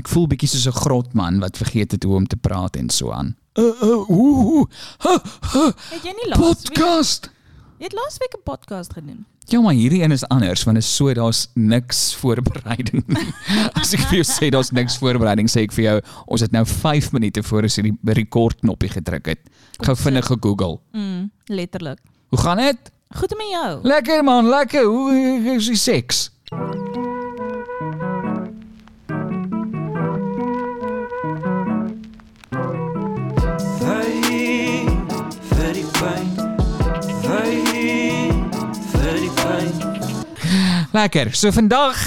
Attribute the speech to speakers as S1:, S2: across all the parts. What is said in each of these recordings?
S1: Ek voel bietjie soos 'n grotman wat vergeet het hoe om te praat en so aan. Uh uh ooh. ooh, ha, ha,
S2: Het jy nie laas week
S1: Podcast.
S2: jy het laas week 'n podcast gedoen?
S1: Ja, maar hierdie een is anders want dit is so daar's niks voorbereiding nie. As ek vir jou sê daar's niks voorbereiding, sê ek vir jou ons het nou 5 minute voor ons hierdie record knoppie gedruk het. Gou vinnig gegoogel.
S2: Mm, letterlik.
S1: Hoe gaan dit?
S2: Goed met jou.
S1: Lekker man, lekker. Hoe is die seks?
S3: Vai, vir die pyn. Vai, vir die pyn.
S1: Lekker. So vandag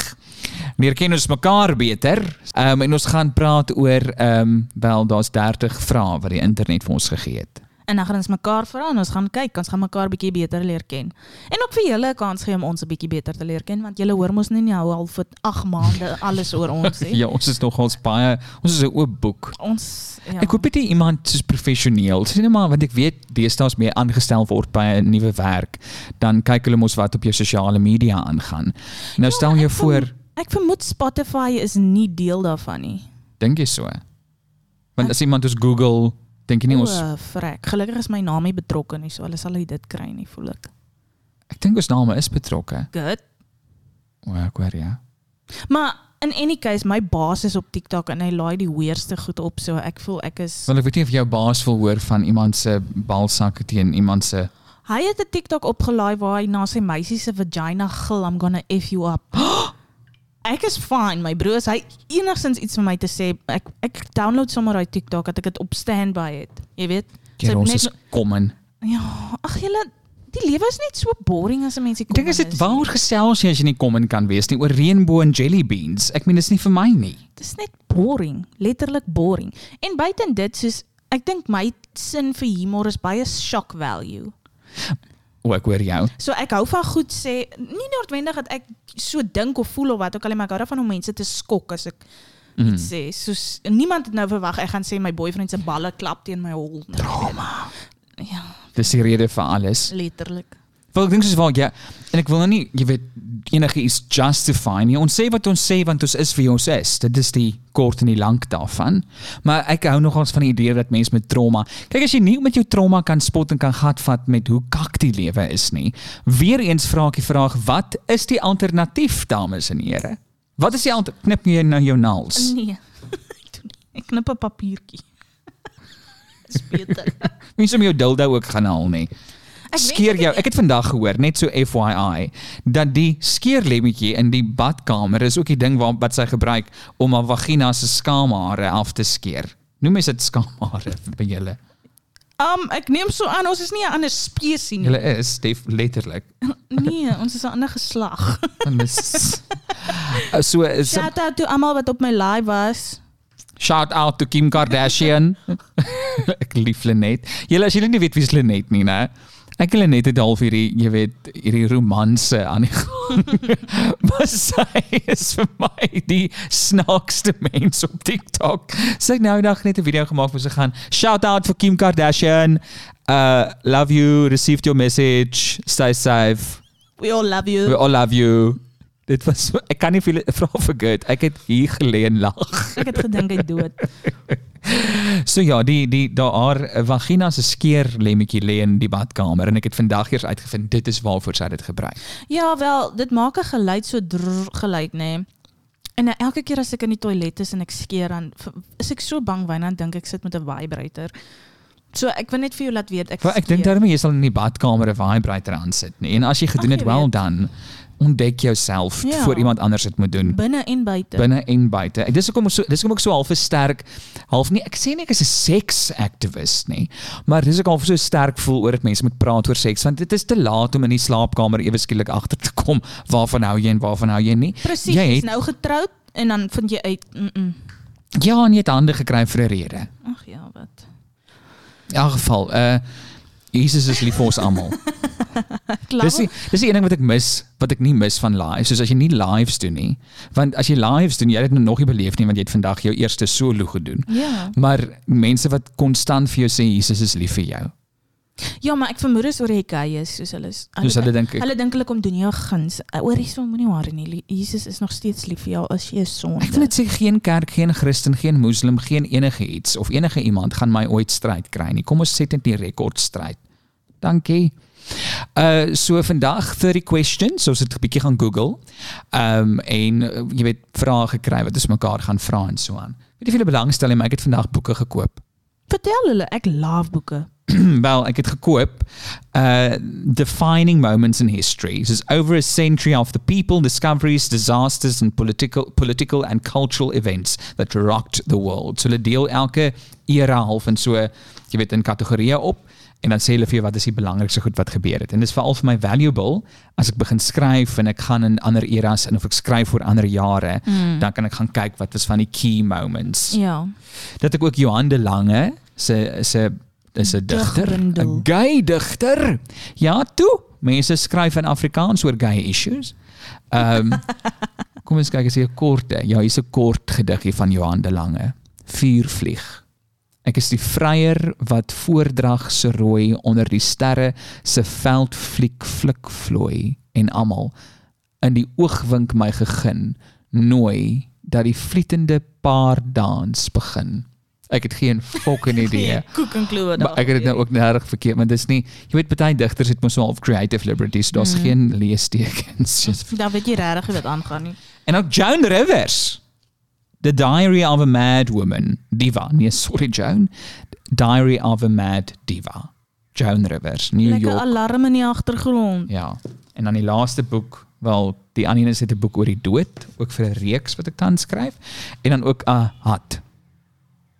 S1: leer ken ons mekaar beter. Ehm um, en ons gaan praat oor ehm um, wel daar's 30 vrae wat die internet vir ons gegee het.
S2: En dan gaan ons mekaar vra en ons gaan kyk, ons gaan mekaar bietjie beter leer ken. En ook vir julle 'n kans gee om ons 'n bietjie beter te leer ken want julle hoor mos nie nou al vir 8 maande alles oor ons nie.
S1: Ja, ons is nogals baie ons is 'n oop boek.
S2: Ons ja.
S1: Ek hoop dit nie iemand soos professioneel. Sien net maar want ek weet deesdae meer aangestel word by 'n nuwe werk, dan kyk hulle mos wat op jou sosiale media aangaan. Nou stel jou
S2: Ja, ek verm-
S1: voor,
S2: Ek vermoed Spotify is nie deel daarvan nie.
S1: dink jy so? Want as iemand ons Google, dink jy nie ons
S2: O, frek. Gelukkig is my naam nie betrokke nie, so hulle sal nie dit kry nie, voel ek.
S1: ek dink ons name is betrokke.
S2: Good.
S1: O, ek hoor ja.
S2: Maar in any case, my baas is op TikTok en hy laai die weerste goed op, so ek voel ek is
S1: Want ek weet nie of jou baas wil hoor van iemand se balsakke teen iemand se
S2: Hy het 'n TikTok opgelaai waar hy na sy meisie se vagina gil, I'm gonna f you up. Ek is fine, my broer, as hy enigstens iets vir my te sê. Ek ek download sommer daai TikTok dat ek dit op standby het. Jy weet. So
S1: keer ons
S2: net-
S1: is common.
S2: Ja, ag julle, die lewe is net so boring as 'n mens hier
S1: Ek dink is dit
S2: nie.
S1: waar gesels jy as jy nie common kan wees nie oor reënboog en jelly beans. Ek meen dis nie vir my nie.
S2: Dit is net boring, letterlik boring. En buiten dit soos ek dink my sin vir humor is baie shock value.
S1: O, ek hoor jou.
S2: So ek hou van goed sê, nie noodwendig dat ek so dink of voel of wat ook al, nie, maar ek hou daarvan om mense te skok as ek mm.
S1: Mhm. Hmm.
S2: iets sê. Soos niemand het nou verwag ek gaan sê my boyfriend se balle klap teen my hol. nie. Ja,
S1: Dis die rede vir alles.
S2: letterlik.
S1: Wel ek dink soos waar ja, en ek wil nou nie, jy weet enige iets justify nie. Ons sê wat ons sê want ons is wie ons is. Dit is die kort en die lank daarvan. Maar ek hou nogals van die idee dat mense met trauma. Kyk as jy nie met jou trauma kan spot en kan gat vat met hoe kak die lewe is nie. Weereens vra ek die vraag, wat is die alternatief dames en here? Wat is die alternatief? Knip jy nou jou naels?
S2: Nee. Ek doen nie. ek knip 'n papiertjie. Is beter.
S1: Mense om jou dildo ook gaan haal nie.
S2: Ek weet
S1: skeer
S2: ek
S1: jou. Ek het vandag gehoor, net so FYI, dat die skeerlemmetjie in die badkamer is ook die ding waar wat sy gebruik om haar vagina se skaamhare af te skeer. Noem mens dit skaamhare by julle?
S2: Um ek neem so aan ons is nie 'n ander spesies nie.
S1: Julle is def letterlik.
S2: Nee, ons is 'n ander geslag.
S1: En dis Uh, so is
S2: Shout out to almal wat op my live was.
S1: shout out to Kim Kardashian. ek lief Lenet. Julle as julle nie weet wie Lenet nie, né? Ek en Lenet het half hierdie, jy weet, hierdie romanse aan die Maar sy is vir my die snaakste mens op TikTok. Sy het nou eendag net 'n video gemaak waar sy gaan shout out vir Kim Kardashian. Uh love you, received your message. Stay safe.
S2: We all love
S1: We
S2: you.
S1: all love you. Dit was so- ek kan nie vir julle vra vir good. Ek het hier geleë en lag.
S2: Ek het gedink hy dood.
S1: So ja, die die daar haar vagina se skeer lemmetjie lê in die badkamer en ek het vandag eers uitgevind dit is waarvoor sy dit gebruik.
S2: Ja, wel, dit maak 'n geluid so drrr geluid, nê. Nee. En nou elke keer as ek in die toilet is en ek skeer dan v- is ek so bang want dan dink ek sit met 'n vibrator. So ek wil net vir jou laat weet ek
S1: Wel, ek dink daarmee jy sal in die badkamer 'n vibrator aan sit nie. En as jy gedoen
S2: Ag,
S1: het,
S2: jy
S1: wel
S2: weet.
S1: dan ontdek jouself
S2: Ja.
S1: voor iemand anders dit moet doen.
S2: binne en buite.
S1: Binne en buite. Ek dis hoekom ons so dis hoekom ek so half 'n sterk half nie ek sê nie ek is 'n seks-aktivis nie, maar dis ek half so sterk voel oor dat mense moet praat oor seks want dit is te laat om in die slaapkamer ewe skielik agter te kom waarvan hou jy en waarvan hou jy nie.
S2: Presies,
S1: jy
S2: jy's
S1: het
S2: nou getroud en dan vind jy uit, mm, mm.
S1: ja, en jy het hande gekry vir 'n rede.
S2: Ag ja, wat.
S1: In elk geval, uh Jesus is lief vir ons almal. Dis die,
S2: Klaar.
S1: dis die een ding wat ek mis, wat ek nie mis van live, soos as jy nie lives doen nie. Want as jy lives doen, jy het dit nou nog nie beleef nie want jy het vandag jou eerste solo gedoen.
S2: Ja.
S1: Maar mense wat konstant vir jou sê Jesus is lief vir jou.
S2: Ja, maar ek vermoed is oor hy gay is, soos hulle is.
S1: Dus hulle dink ek
S2: Hulle dink hulle kom doen jou guns. Eh, Oor hierso moenie waar nie. Lie- Jesus is nog steeds lief vir jou as jy 'n sonde.
S1: Ek wil net sê geen kerk, geen Christen, geen moslim, geen enige iets of enige iemand gaan my ooit stryd kry nie. Kom ons set dit die rekord stryd. Dankie. Uh so vandag 30 questions, ons het 'n bietjie gaan Google. Ehm um, en uh, jy weet vrae gekry wat ons mekaar gaan vra en so aan. Weet jy hoeveel belangstel jy, maar ek het vandag boeke gekoop.
S2: Vertel hulle, ek love boeke.
S1: Wel, ek het gekoop uh Defining Moments in History. This is over a century of the people, discoveries, disasters and political political and cultural events that rocked the world. So hulle deel elke era half in so jy weet in kategorieë op en dan sê hulle vir jou wat is die belangrikste goed wat gebeur het. En dis veral vir my valuable as ek begin skryf en ek gaan in ander eras en of ek skryf oor ander jare, mm. dan kan ek gaan kyk wat was van die key moments
S2: Ja.
S1: dat ek ook Johan de Lange se se is 'n digter,
S2: Digbundel.
S1: 'n gay digter. Ja, toe. Mense skryf in Afrikaans oor gay issues. Ehm um, kom ons kyk as hier 'n korte. Ja, hier's 'n kort gediggie van Johan de Lange. Vuurvlieg. Ek is die vryer wat voordrag se rooi onder die sterre se veld fliek flik vloei en almal in die oogwink my gegin nooi dat die vlietende paardans begin. Ek het geen fucking idee.
S2: Koek en kloe
S1: Maar ek het dit nou ook nerg verkeerd, want dis nie jy weet baie digters het mos half creative liberty, so daar's
S2: Mm.
S1: mm. geen leestekens. Just-
S2: Dan weet jy regtig wat aangaan nie.
S1: en ook Joan Rivers. The Diary of a Mad Woman, Diva. Nee, sorry Joan. Diary of a Mad Diva. Joan Rivers, New
S2: Lekker
S1: York.
S2: alarm in die agtergrond.
S1: Ja. En dan die laaste boek, wel, die ander een is net 'n boek oor die dood, ook vir 'n reeks wat ek tans skryf, en dan ook 'n hat.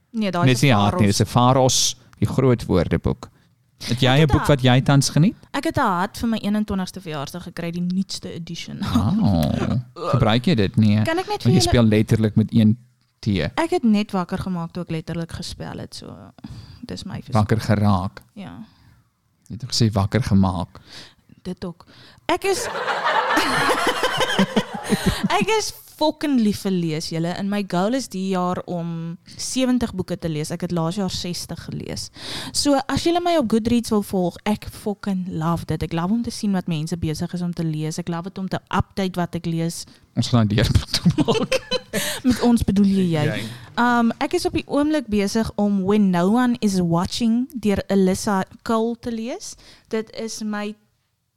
S2: Nee, daai
S1: Nee, dis
S2: is
S1: nie 'n
S2: een
S1: hat nie, dis 'n faros, die groot woordeboek. Het jy
S2: het
S1: 'n boek
S2: a-
S1: wat jy tans geniet?
S2: Ek het 'n hart vir my 21ste verjaarsdag gekry, die nuutste edition.
S1: Oh, gebruik jy dit nie?
S2: Kan ek
S1: Want
S2: net vir
S1: jy
S2: julle
S1: speel letterlik met een T
S2: Ek het net wakker gemaak toe ek letterlik gespel het, so dis my verskoning.
S1: wakker geraak.
S2: Ja,
S1: Jy het toch gesê wakker gemaak.
S2: dit ook. Ek is Ek is fucking lief vir lees, julle. En my goal is die jaar om 70 boeke te lees. Ek het laas jaar 60 gelees. So as julle my op Goodreads wil volg, ek fucking love dit. Ek love om te sien wat mense besig is om te lees. Ek love dit om te update wat ek lees.
S1: Ons gaan nou deur toe maak.
S2: Met ons bedoel jy jy. Um ek is op die oomblik besig om When No One Is Watching deur Elissa Cole te lees. Dit is my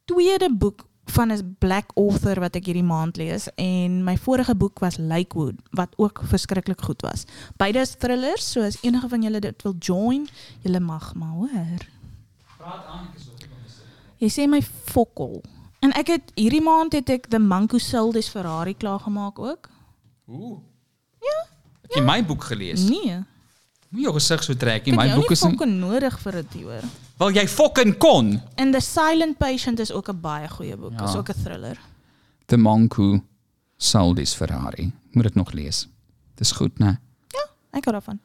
S2: tweede boek van 'n black author wat ek hierdie maand lees en my vorige boek was Lakewood wat ook verskriklik goed was. Beide is thrillers, so as enige van julle dit wil join, julle mag maar hoor. Jy sê my fokol. En ek het hierdie maand het ek The Manco Sildes Ferrari klaargemaak ook.
S1: Ooh. Ja. Jy my boek gelees.
S2: Nee.
S1: Moenie jou gesig so trek nie.
S2: Ek
S1: My
S2: het jou
S1: boek
S2: nie
S1: is in...
S2: fucking nodig vir dit hoor.
S1: wel jy fucking kon.
S2: En The Silent Patient is ook 'n baie goeie boek.
S1: Ja.
S2: Is ook 'n thriller.
S1: The Manku Saldis Ferrari. Moet dit nog lees. Dis goed, né?
S2: Ek hou daarvan.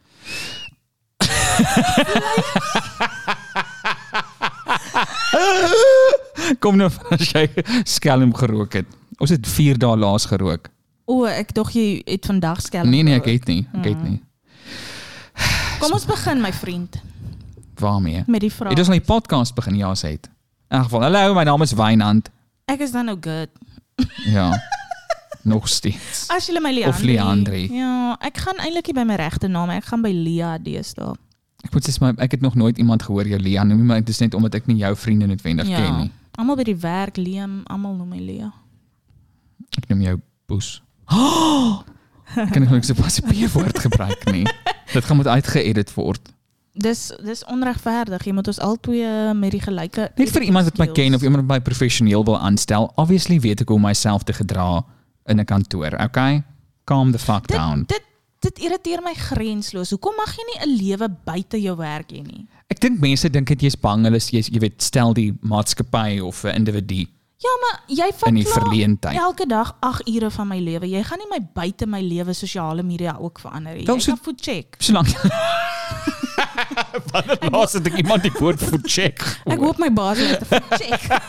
S1: Kom nou van as jy skelm gerook het. Ons het 4 dae laas gerook.
S2: O, ek dog jy het vandag skelm.
S1: Nee nee, ek het nie. Ek
S2: Mm.
S1: het nie.
S2: Kom ons begin my vriend
S1: Waarmee?
S2: met die vraag.
S1: Het ons al die podcast begin ja sê het. In elk geval, hallo, my naam is Wynand.
S2: Ek is dan nou good.
S1: Ja. nog steeds.
S2: As jy my Leandri.
S1: Of Leandri.
S2: Ja, ek gaan eintlik nie by my regte naam, ek gaan by Lia deesdae.
S1: Ek moet sê maar ek het nog nooit iemand gehoor jou Lia noem nie, maar dit is net omdat ek nie jou vriende noodwendig
S2: Ja.
S1: ken nie.
S2: Almal by die werk Liam, almal noem my Lia.
S1: Ek noem jou Boes. Oh! Ek kan nog niks op papier woord gebruik nie. Dit gaan moet uitgeëdit word.
S2: Dis dis onregverdig. Jy moet ons al twee met die gelyke
S1: Net vir iemand wat my
S2: skills.
S1: ken of iemand wat my professioneel wil aanstel, obviously weet ek hoe om myself te gedra in 'n kantoor, okay? Calm the fuck down.
S2: Dit, dit dit irriteer my grensloos. Hoekom mag jy nie 'n lewe buite jou werk hê nie?
S1: Ek dink mense dink dit jy's bang, hulle is- jy jy weet stel die maatskappy of 'n individu
S2: Ja, maar jy
S1: in die
S2: verklaar
S1: verleentheid.
S2: elke dag 8 ure van my lewe. Jy gaan nie my buite my lewe sosiale media ook verander nie.
S1: Wel,
S2: Jy
S1: so-
S2: gaan voet check.
S1: Solank Wanneer laas het ek iemand die woord voor check?
S2: Ek hoop my baas het 'n voet check.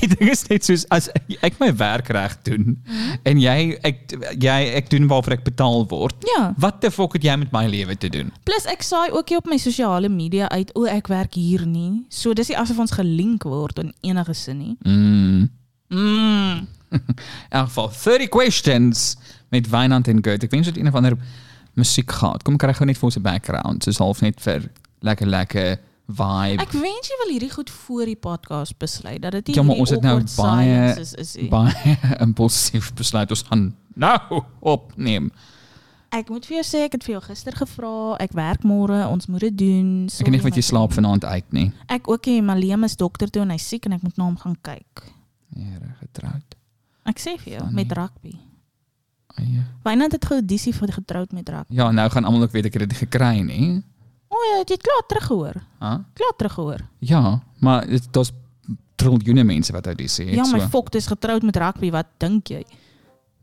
S1: Die dus ding is net soos as ek my werk reg doen en jy ek jy ek doen waarvoor ek betaal word.
S2: Ja.
S1: Wat the fuck het jy met my lewe te doen?
S2: Plus ek saai ook hier op my sosiale media uit, o ek werk hier nie. So dis nie asof ons gelink word in enige sin nie.
S1: Mm.
S2: Mm.
S1: In elk geval 30 questions met Wynand en Gert. Ek wens dit een of ander musiek gehad. Kom kry gou net vir ons 'n background, soos half net vir lekker lekker vibe.
S2: Ek wens jy wil hierdie goed voor die podcast besluit dat dit nie
S1: Ja, maar
S2: hierdie
S1: ons het nou
S2: awkward
S1: baie-
S2: silences is, is,
S1: baie impulsief besluit ons gaan nou opneem.
S2: Ek moet vir jou sê ek het vir jou gister gevra, ek werk môre, ons moet dit doen.
S1: Ek weet nie wat jy
S2: sorry,
S1: slaap vanaand uit nie.
S2: maar- Ek ook nie, maar Liam is dokter toe en hy's siek en ek moet na hom gaan kyk.
S1: Here getroud.
S2: Ek sê vir jou
S1: Funny.
S2: met rugby.
S1: Eie.
S2: Wynand het goudisie vir getroud met rugby.
S1: Ja, nou gaan almal ook weet ek het dit nie gekry nie.
S2: O ja, het jy klaar teruggehoor?
S1: Huh?
S2: Klaar teruggehoor.
S1: Ja, maar dit daar's triljoene mense wat dus uit dis het
S2: Ja, my
S1: so.
S2: fok, dis getroud met rugby, wat dink jy?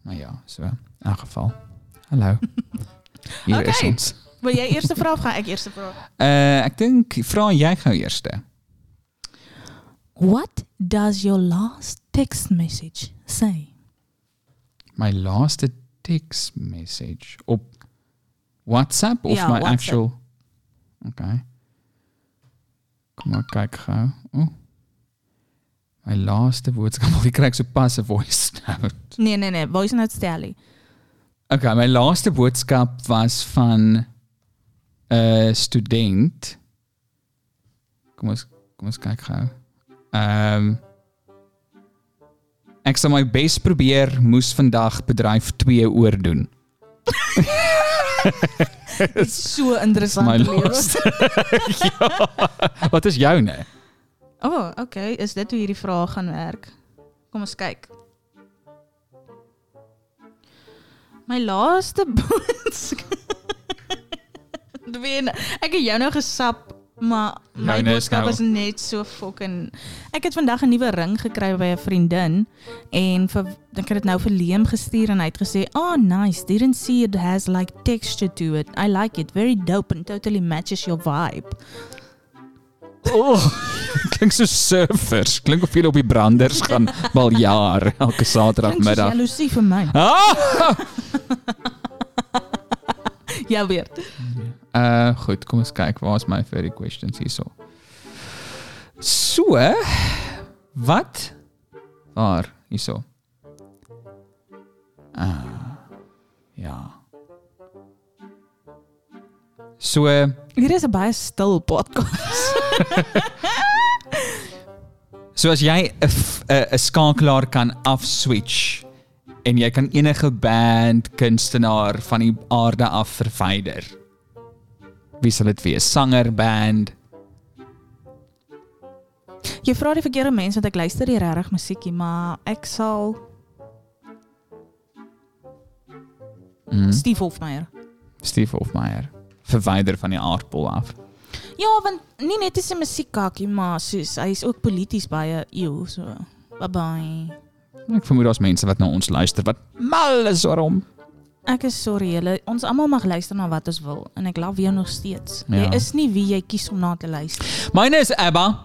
S1: Maar ja, so in elk geval. Hallo. Hier is
S2: Okay.
S1: ons.
S2: Wil jy eers 'n vraag gaan? Ek eers 'n vraag.
S1: Uh, ek dink vra jy gou eerste.
S2: What does your last text message say?
S1: My laaste text message op WhatsApp of
S2: Ja,
S1: my
S2: WhatsApp.
S1: actual Okay. Kom maar kyk gou. O. My laaste boodskap, ek kry ek so pas 'n voice nou. note.
S2: Nee, nee, nee, voice note Stanley.
S1: Okay, my laaste boodskap was van 'n student. Kom ons kom ons kyk gou. Ehm Ek sal my bes probeer, moes vandag bedryf 2 oor doen.
S2: Dis so interessant
S1: My
S2: lewe.
S1: laaste. ja. Wat is joune?
S2: O, oh, okay, is dit hoe hierdie vraag gaan werk? Kom ons kyk. My laaste boodskap. Dween, ek het jou nou gesap, maar my
S1: Joune is
S2: boodskap
S1: nou-
S2: was net so fucking Ek het vandag 'n nuwe ring gekry by 'n vriendin en vir ek het dit nou vir Liam gestuur en hy het gesê, "Oh, nice. Didn't see it has like texture to it. I like it. Very dope and totally matches your vibe."
S1: Oh, klink so surfers. Klink of julle op die branders gaan baljaar elke
S2: Klink soos
S1: Saterdagmiddag.
S2: jaloesie vir my.
S1: Ah!
S2: Ja, weer.
S1: Uh goed, kom ons kyk. Waar's my furry questions hierso? So, wat? Waar hierso. Ah. Ja. So,
S2: Hier is 'n baie stil podcast.
S1: So as jy 'n f- 'n 'n skakelaar kan afswitch en jy kan enige band, kunstenaar van die aarde af verwyder. Wie sal dit wees? Sanger, band?
S2: Jy vra die verkeerde mense want ek luister nie regtig musiekie, maar ek sal
S1: Mm.
S2: Steve Hofmeyer.
S1: Steve Hofmeyer verwyder van die aardbol af.
S2: Ja, want nie net is sy musiek kakkie, maar soos hy is ook polities baie eeu so. Bye bye.
S1: Ek vermoed daar's mense wat na ons luister wat mal is oor
S2: Ek is sorry julle. Ons almal mag luister na wat ons wil en ek love jou nog steeds.
S1: Ja.
S2: Jy is nie wie jy kies om na te luister.
S1: Myne is Abba.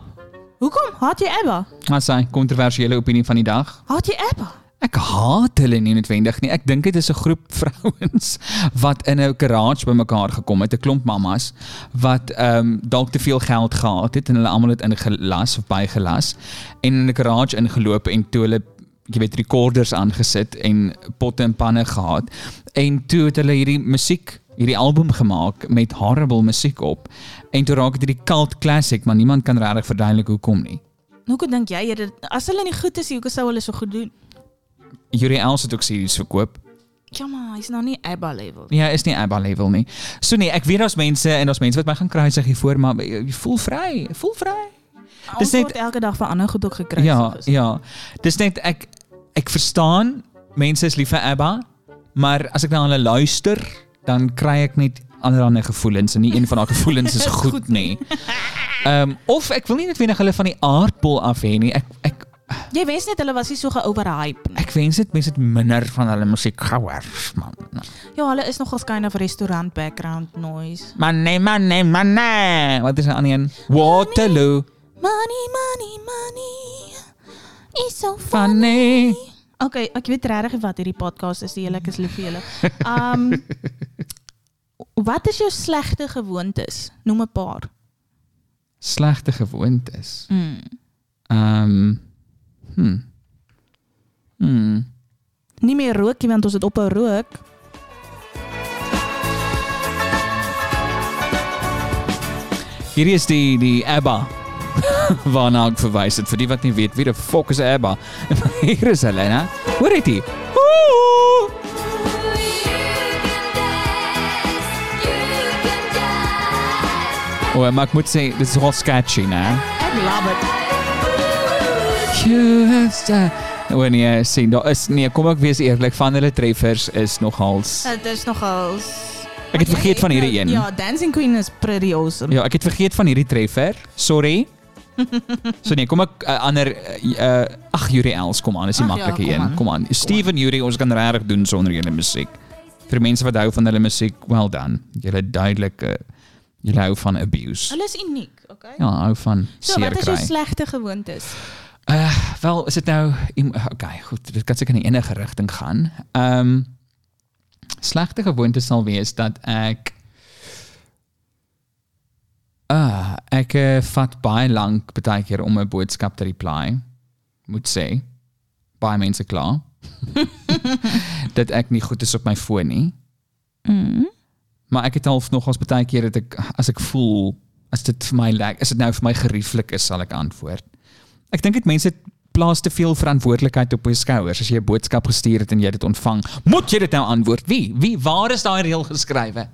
S2: Hoekom haat jy Abba?
S1: Wat sy kontroversiële opinie van die dag.
S2: Haat jy Abba?
S1: Ek haat hulle nie noodwendig nie. Ek dink dit is 'n groep vrouens wat in 'n garage bymekaar gekom het, 'n klomp mammas wat ehm dalk te veel geld gehad het en hulle almal het ingelas of bygelas en in 'n garage ingeloop en toe hulle jy weet recorders aangesit en potte en panne gehad en toe het hulle hierdie musiek hierdie album gemaak met horrible musiek op en toe raak dit hierdie cult classic maar niemand kan regtig verduidelik hoekom nie.
S2: Hoekom dink jy jy dit as hulle nie goed is, nie, hoekom sou hulle so goed doen?
S1: Yuri Els het ook series verkoop
S2: Ja, maar hy's nou nie Abba level.
S1: Ja, is nie ABBA level nie. So nee, ek weet daar's mense en daar's mense wat my gaan kruisig hiervoor, maar jy jy voel vry, voel vry.
S2: Ons
S1: net-
S2: word elke dag van ander goed ook gekry.
S1: Ja, ja. Dis net ek ek verstaan mense is lief vir ABBA, maar as ek na hulle luister, dan kry ek net allerlei gevoelens en nie een van daai gevoelens is goed,
S2: Goed
S1: nie. Ehm of ek wil nie noodwendig hulle van die aardbol af hê nie. Ek ek
S2: Jy wens net hulle was nie so geoverhype nie.
S1: ek wens dit mense het minder van hulle musiek gouer, man.
S2: Ja, hulle is nogal skyn of restaurant background noise.
S1: Man nee, man nee, man nee. Wat is 'n ander een? Waterloo.
S2: Money, money, money. is so
S1: Van nee.
S2: Okay, ek weet regtig nie wat hierdie podcast is, die eerlik is lief vir julle. Um Wat is jou slegte gewoontes? Noem 'n paar.
S1: Slegte gewoontes.
S2: Mm.
S1: Ehm hm. Hm.
S2: Nie meer rook nie want ons het ophou rook.
S1: Hierdie is die die ABBA waarna ek verwys het vir die wat nie weet wie die fok is ABBA. Hier is hulle, né? Hoor dit hier? Ooh! O, maar ek moet sê dit is nogal sketchy, né?
S2: Ek love it.
S1: Kyste. O nee, sien, daar is nee, kom ek wees eerlik, van hulle treffers is nogals.
S2: Dit is nogal
S1: Ek het vergeet van hierdie een.
S2: Ja, Dancing Queen is pretty awesome.
S1: Ja, ek het vergeet van hierdie treffer. Sorry. so nee, kom ek uh, ander uh, ag Yuri Els kom aan, is die
S2: Ag ja,
S1: maklike
S2: kom
S1: een.
S2: aan.
S1: Kom aan. Steven Yuri, ons kan regtig doen sonder julle musiek. Vir mense wat hou van hulle musiek, well done. Julle duidelik uh, julle hou van abuse.
S2: Hulle is uniek, okay?
S1: Ja, hou van
S2: so, wat
S1: seer
S2: is jou
S1: kry.
S2: slegte gewoontes?
S1: Uh, wel, is dit nou im- okay, goed, dit kan seker in enige rigting gaan. Ehm um, slegte gewoonte sal wees dat ek ah, ek uh, vat baie lank baie keer om 'n boodskap te reply. Moet sê baie mense kla dat ek nie goed is op my foon nie.
S2: Mm.
S1: Maar ek het al nogals baie keer dat ek as ek voel as dit vir my lyk, as dit nou vir my gerieflik is, sal ek antwoord. Ek dink dit mense plaas te veel verantwoordelikheid op hul skouers. As jy 'n boodskap gestuur het en jy dit ontvang, moet jy dit nou antwoord. Wie? Wie waar is daai reël geskrywe?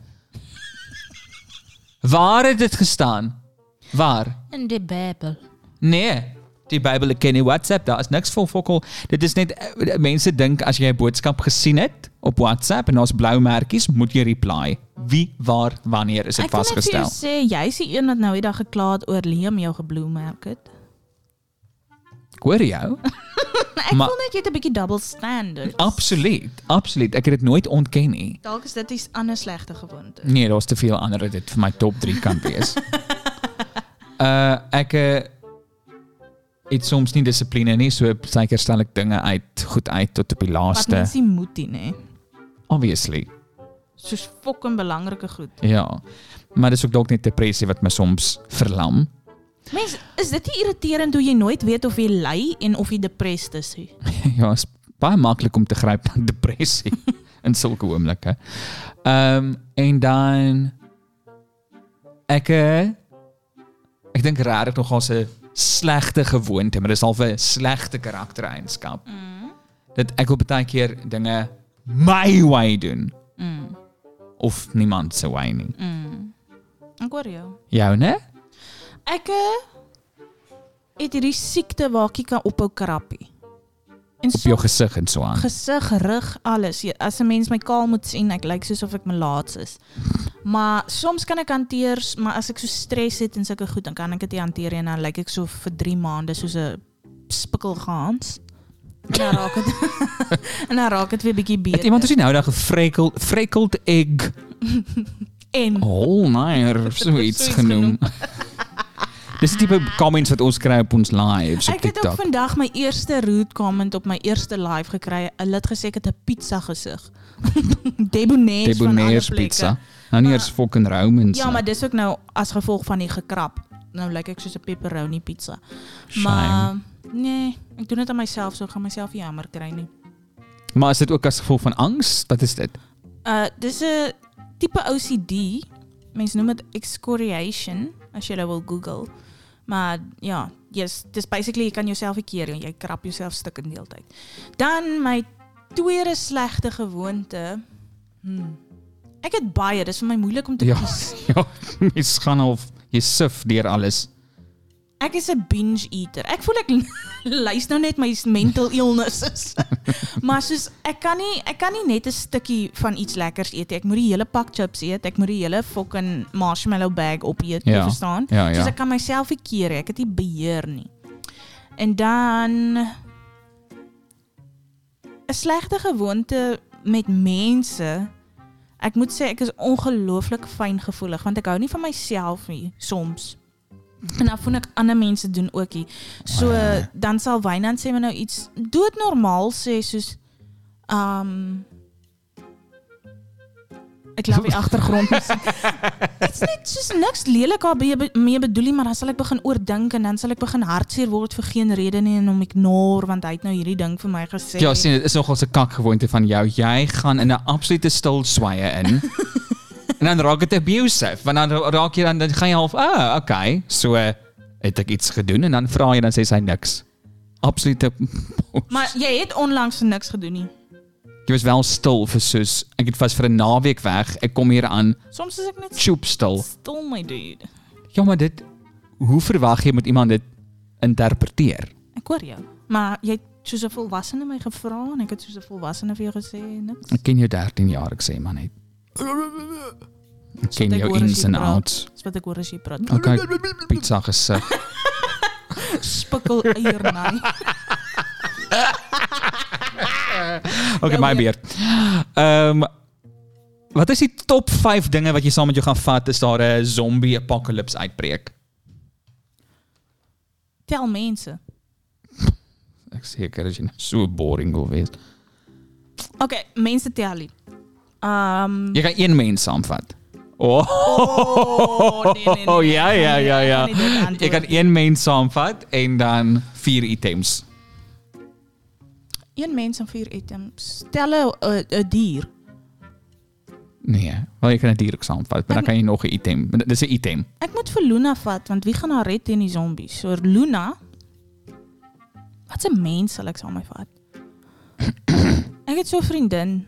S1: Waar het dit gestaan? Waar?
S2: In die Bybel.
S1: Nee. Die Bybel ken nie WhatsApp, daar is niks vol fokol. Dit is net eh, mense dink as jy 'n boodskap gesien het op WhatsApp en daar's blou merkies, moet jy reply. Wie, waar, wanneer is dit
S2: Ek kan net vir jou
S1: vasgestel?
S2: sê jy's die een wat nou die dag gekla het oor Liam jou gebloemmerk het.
S1: Ek hoor jou.
S2: Ek
S1: Maar-
S2: voel net jy het 'n bietjie double standard.
S1: Absoluut, absoluut. Ek het dit nooit ontken nie.
S2: Dalk is dit iets ander slegte gewoonte.
S1: Nee, daar's te veel ander wat dit vir my top 3 kan wees. uh ek eh, het soms nie dissipline nie, so baie keer stel ek dinge uit, goed uit tot op die
S2: Wat
S1: laaste.
S2: mens nie moet nie, nê.
S1: Obviously.
S2: Soos fucking belangrike goed.
S1: Ja. Maar dis ook dalk net depressie wat my soms verlam.
S2: Mens, is dit nie irriterend hoe jy nooit weet of jy ly en of jy depressed is nie?
S1: ja, is baie maklik om te gryp na depressie in sulke oomblikke. Ehm en dan ek eh, ek dink regtig nogal 'n slegte gewoonte, maar dis al 'n slegte karaktereienskap. Dat ek wil baie keer dinge my way doen
S2: Mm.
S1: of niemand se way nie.
S2: Mm. Ek hoor jou.
S1: Joune?
S2: Ek eh, het hierdie siekte waar ek nie kan ophou krappie. En
S1: Op jou
S2: soms
S1: gesig en so aan.
S2: gesig, rug, alles. Jy- As 'n mens my kaal moet sien, ek lyk soos of ek malaats is. Maar soms kan ek hanteer, s- maar as ek so stres het en sulke goed, dan kan ek dit nie hanteer nie en dan lyk ek so vir 3 maande soos 'n spikkelgaans. En dan raak dit en dan raak dit weer bietjie
S1: Het
S2: beter.
S1: iemand ons nou daag 'n frekkel frekkeled egg Oh,
S2: en
S1: Holmeyer of so iets
S2: Zoiets
S1: genoem. Dis die tipe comments wat ons kry op ons lives op
S2: ek het ook
S1: TikTok.
S2: vandag my eerste rude comment op my eerste live gekry. Hulle het gesê ek het 'n pizza gesig. Debonair van alle
S1: Debonair's
S2: plekke.
S1: pizza. Nou nie eers fucking Romans.
S2: Ja, maar dis ook nou as gevolg van die gekrap. Nou lyk ek soos 'n pepperoni pizza.
S1: Shame.
S2: Maar nee, ek doen dit aan myself, so ek gaan myself nie jammer kry nie.
S1: maar is dit ook as gevolg van angs? Wat is dit?
S2: Uh dis 'n tipe OCD. Mense noem dit excoriation as jy dit wil Google. Maar ja, yes, dis basically jy kan jouself nie keer en jy krap jouself stuk in deeltyd. Dan my tweede slegte gewoonte. Hmm. Ek het baie, dis vir my moeilik om te
S1: Ja.
S2: kies.
S1: ja, mens gaan half jy sif deur alles.
S2: Ek is 'n binge eater. Ek voel ek lys nou net my mental illnesses. maar soos ek kan nie ek kan nie net 'n stukkie van iets lekkers eet nie. Ek moet die hele pak chips eet. Ek moet die hele fucking marshmallow bag opeet,
S1: Ja.
S2: jy verstaan?
S1: Ja,
S2: Soos
S1: ja.
S2: Dus ek kan myself nie keer nie. Ek het nie beheer nie. En dan 'n slegte gewoonte met mense. Ek moet sê ek is ongelooflik fyngevoelig want ek hou nie van myself nie soms. En dan voel ek ander mense doen ookie. So
S1: ja.
S2: dan sal Wynand sê my nou iets doodnormaal sê soos ehm Ek laat die agtergrond musiek. Dit's net soos niks lelik daar be- mee bedoel nie, maar dan sal ek begin oordink en dan sal ek begin hartseer word vir geen rede nie en hom ignore want hy het nou hierdie ding vir my gesê.
S1: Ja, sien, dit is nogal 'n kakgewoonte van jou. Jy gaan in 'n absolute stil swaaye in. en dan raak dit abusive, want dan ra- raak jy dan dan gaan jy half, "Ah, okay, so eh, het ek iets gedoen." En dan vra jy dan sê sy niks. Absolute
S2: Maar jy het onlangs vir niks gedoen nie.
S1: Jy was wel stil vir soos ek het vas vir 'n naweek weg. Ek kom hier aan,
S2: Soms is ek net
S1: choop stil.
S2: stil my dude.
S1: Ja, maar dit hoe verwag jy met iemand dit interpreteer?
S2: Ek hoor jou. Maar jy het soos 'n volwassene my gevra en ek het soos 'n volwassene vir jou gesê niks.
S1: Ek ken jou 13 jaar, ek sê maar net. Ek ken
S2: Ek
S1: jou
S2: hoor as
S1: ins
S2: jy
S1: en
S2: praat.
S1: outs.
S2: Dis wat ek hoor as jy praat.
S1: Okay, pizza gesig.
S2: Spikkel eier naai.
S1: Okay,
S2: Jou
S1: my
S2: beurt.
S1: beurt. Ehm Wat is die top 5 dinge wat jy saam met jou gaan vat as daar 'n zombie apokalips uitbreek?
S2: Tel mense.
S1: Ek seker as jy nou so boring wil wees.
S2: Okay, mense tel nie. Ehm
S1: Jy gaan een mens saamvat. O,
S2: Oh, nee, nee, nee,
S1: oh,
S2: nee,
S1: ja
S2: ek
S1: ja
S2: gaan nie-
S1: ja
S2: ek
S1: ja.
S2: gaan nie dit antwoord
S1: Jy kan
S2: nie.
S1: een mens saamvat en dan vier items.
S2: een mens en vier items. Tel 'n uh, 'n dier.
S1: Nee, wel jy kan dit direk saamvat, maar dan kan jy nog 'n item. Dis 'n item.
S2: Ek moet vir Luna vat want wie gaan haar red teen die zombies? So Luna Wat 'n mens sal ek saam met my vat? ek het so 'n vriendin.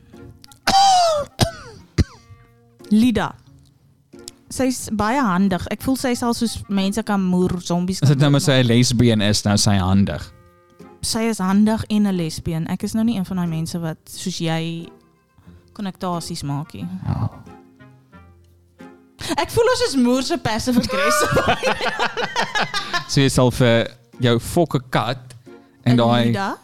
S2: Lida. Sy's baie handig. Ek voel sy sal soos mense kan moer zombies.
S1: As dit
S2: Kan
S1: nou maar sy
S2: moer,
S1: 'n lesbien is, nou is sy handig.
S2: maar sy is handig en 'n lesbien. Ek is nou nie een van daai mense wat soos jy konnektasies maak nie.
S1: Ja.
S2: Ek voel ons is moer se passive aggressive.
S1: So jy sal vir eh, jou fokke kat en daai
S2: Lida.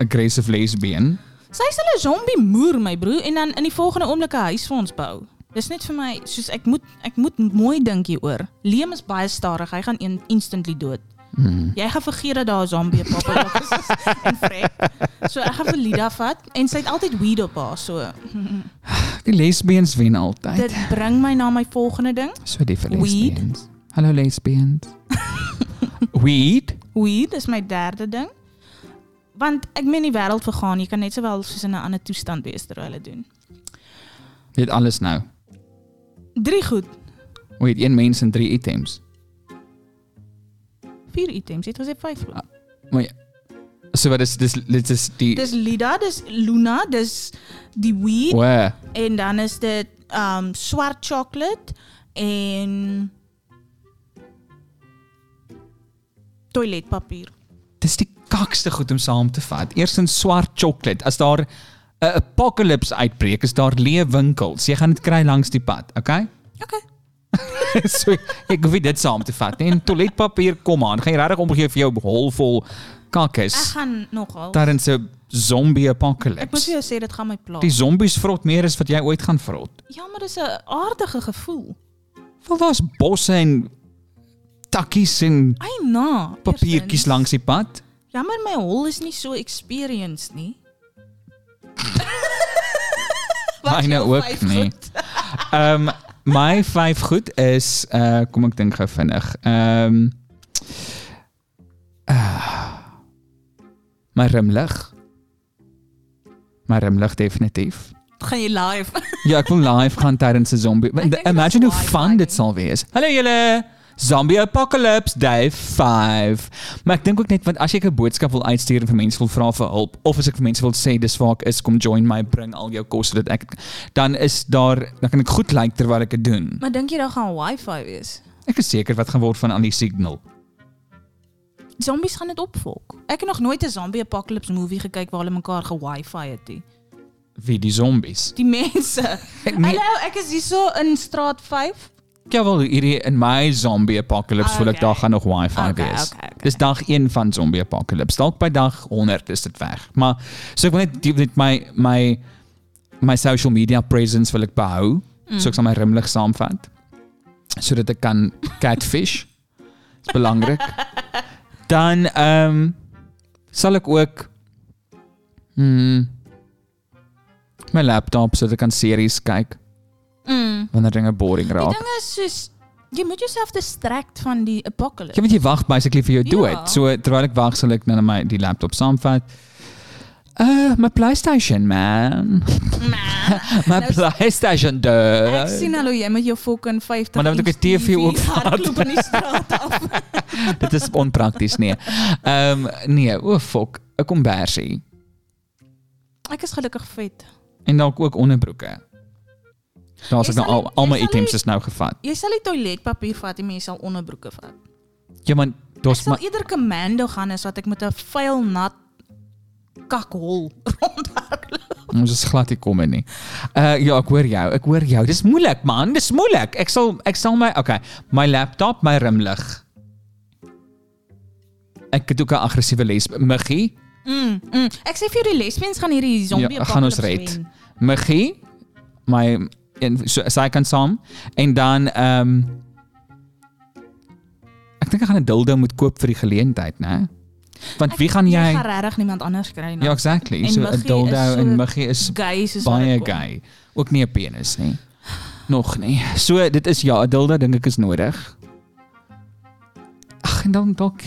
S1: aggressive lesbien
S2: Sy sal 'n zombie moer my broer en dan in die volgende oomblik 'n huis vir ons bou. Dis net vir my soos ek moet ek moet mooi dink hieroor. Liam is baie stadig. Hy gaan een, instantly dood.
S1: Hmm.
S2: Jy gaan vergeet dat daar 'n zombie op papa is en vrek. So ek gaan vir Lida vat en sy het altyd weed op haar. So
S1: Die lesbians wen altyd.
S2: dit bring my na my volgende ding.
S1: So die vir
S2: Weed.
S1: lesbians. Hallo lesbians. Weed?
S2: Weed is my derde ding. Want ek meen die wêreld vergaan. Jy kan net sowel soos in 'n ander toestand wees terwyl hulle doen.
S1: Jy het alles nou.
S2: Drie goed.
S1: Jy het een mens en drie items.
S2: Vier items. Dit was net vyf.
S1: Ah,
S2: goed.
S1: So wat is dis dit is die
S2: Dis Lida, dis Luna, dis die weed
S1: Wow.
S2: en dan is dit um swart chocolate en toiletpapier.
S1: Dis die kakste goed om saam te vat. Eerstens swart chocolate. As daar 'n apocalypse uitbreek, is daar leë winkels. Jy gaan dit kry langs die pad, okay?
S2: Okay.
S1: so ek hoef nie dit saam te vat nie. En toiletpapier kom aan. Gaan jy regtig omgee vir jou hol vol
S2: Ek
S1: kakkes?
S2: gaan nogal.
S1: Daar is 'n zombie
S2: Ek moet
S1: apocalypse.
S2: vir jou sê dit gaan my pla.
S1: Die zombies vrot meer as wat jy ooit gaan vrot.
S2: Ja, maar dis 'n aardige gevoel.
S1: Wel daar's bosse en takkies en
S2: Ai na.
S1: papiertjies
S2: eerstens.
S1: langs die pad.
S2: Jammer my hol is nie so experienced nie. Wat is
S1: Myne
S2: jou
S1: ook
S2: vyf
S1: nie.
S2: goed?
S1: Ehm um, my vyf goed is uh kom ek dink gou vinnig. Ehm um, uh, my rimlig. My rimlig definitief.
S2: Gaan jy live?
S1: Ja, ek wil live gaan tydens 'n zombie.
S2: Ek dink
S1: Imagine
S2: dit is
S1: hoe
S2: live,
S1: fun dit
S2: Maggie.
S1: sal wees. Hallo julle. Zombie Apocalypse Day 5. Maar ek dink ook net want as ek 'n boodskap wil uitstuur en vir mense wil vra vir hulp of as ek vir mense wil sê dis waar ek is, kom join my, bring al jou kos sodat ek dan is daar dan kan ek goed lyk like terwyl ek dit doen.
S2: Maar dink jy daar gaan wifi wees?
S1: Ek is seker wat gaan word van al die signal.
S2: Zombies gaan dit opvolk. Ek het nog nooit 'n zombie apocalypse movie gekyk waar hulle mekaar gewifi het nie.
S1: Wie die zombies.
S2: Die mense.
S1: Ek meen,
S2: Hallo, ek is hierso in straat 5.
S1: ja wel hierdie in my zombie apocalypse voel ek
S2: Ah, Okay.
S1: daar gaan nog wifi
S2: Okay,
S1: wees.
S2: okay, okay.
S1: Dis dag 1 van zombie apocalypse. Dalk by dag 100 is dit weg. Maar so ek wil net die- net my my my social media presence wil ek
S2: Mm.
S1: behou. So ek sal my rimlig saamvat sodat ek kan catfish. Dis belangrik. Dan ehm sal ek ook hmm my laptop sodat ek kan series kyk
S2: Mm.
S1: wanneer dinge boring
S2: Die
S1: raak.
S2: ding is Ja, soos jy moet jouself distract van die apocalypse.
S1: Jy weet jy wag basically vir jou
S2: Ja.
S1: dood. So terwyl ek wag sal ek dan my die laptop saamvat. Uh my PlayStation man. my
S2: Nou s-
S1: PlayStation dus.
S2: Ek
S1: duh.
S2: sien al hoe jy met jou fucking 50
S1: Maar dan moet ek 'n
S2: inch
S1: TV ook
S2: hardloop in die straat af.
S1: Dit is onprakties nee. Ehm nee, o oh, fok, 'n kombersie
S2: Ek is gelukkig vet.
S1: en dalk ook onderbroeke. Daar's
S2: Jy
S1: ek nou
S2: sal
S1: al
S2: nie-
S1: al
S2: jy
S1: my
S2: sal
S1: items
S2: nie-
S1: is nou gevat.
S2: Jy sal nie toiletpapier vat nie, maar jy sal onderbroeke vat.
S1: Ja man,
S2: Ek
S1: daar's
S2: sal
S1: maar
S2: eerder commando gaan as wat ek met 'n vuil nat kakhol rondhardloop.
S1: ons is glad nie kom in nie. Uh ja, ek hoor jou. Ek hoor jou. Dis moeilik man, dis moeilik. Ek sal ek sal my okay, my laptop, my rimlig. Ek het ook 'n aggressiewe les muggie.
S2: Mm, mm. Ek sê vir jou die lesbiens gaan hierdie zombie
S1: Ja, gaan ons
S2: apocalypse
S1: red.
S2: wen.
S1: Muggie my en so sy kan saam en dan ehm um, ek dink ek gaan 'n dildo moet koop vir die geleentheid, né? Want
S2: Ek-
S1: wie gaan jy
S2: Jy gaan regtig niemand anders kry nie.
S1: Ja, exactly.
S2: En
S1: So 'n
S2: muggie
S1: dildo
S2: is so
S1: en muggie is
S2: gay soos wat
S1: baie
S2: ek kom.
S1: gay. Ook nie 'n penis nie. Nog nie. So dit is ja, 'n dildo dink ek is nodig. Ag en dan dalk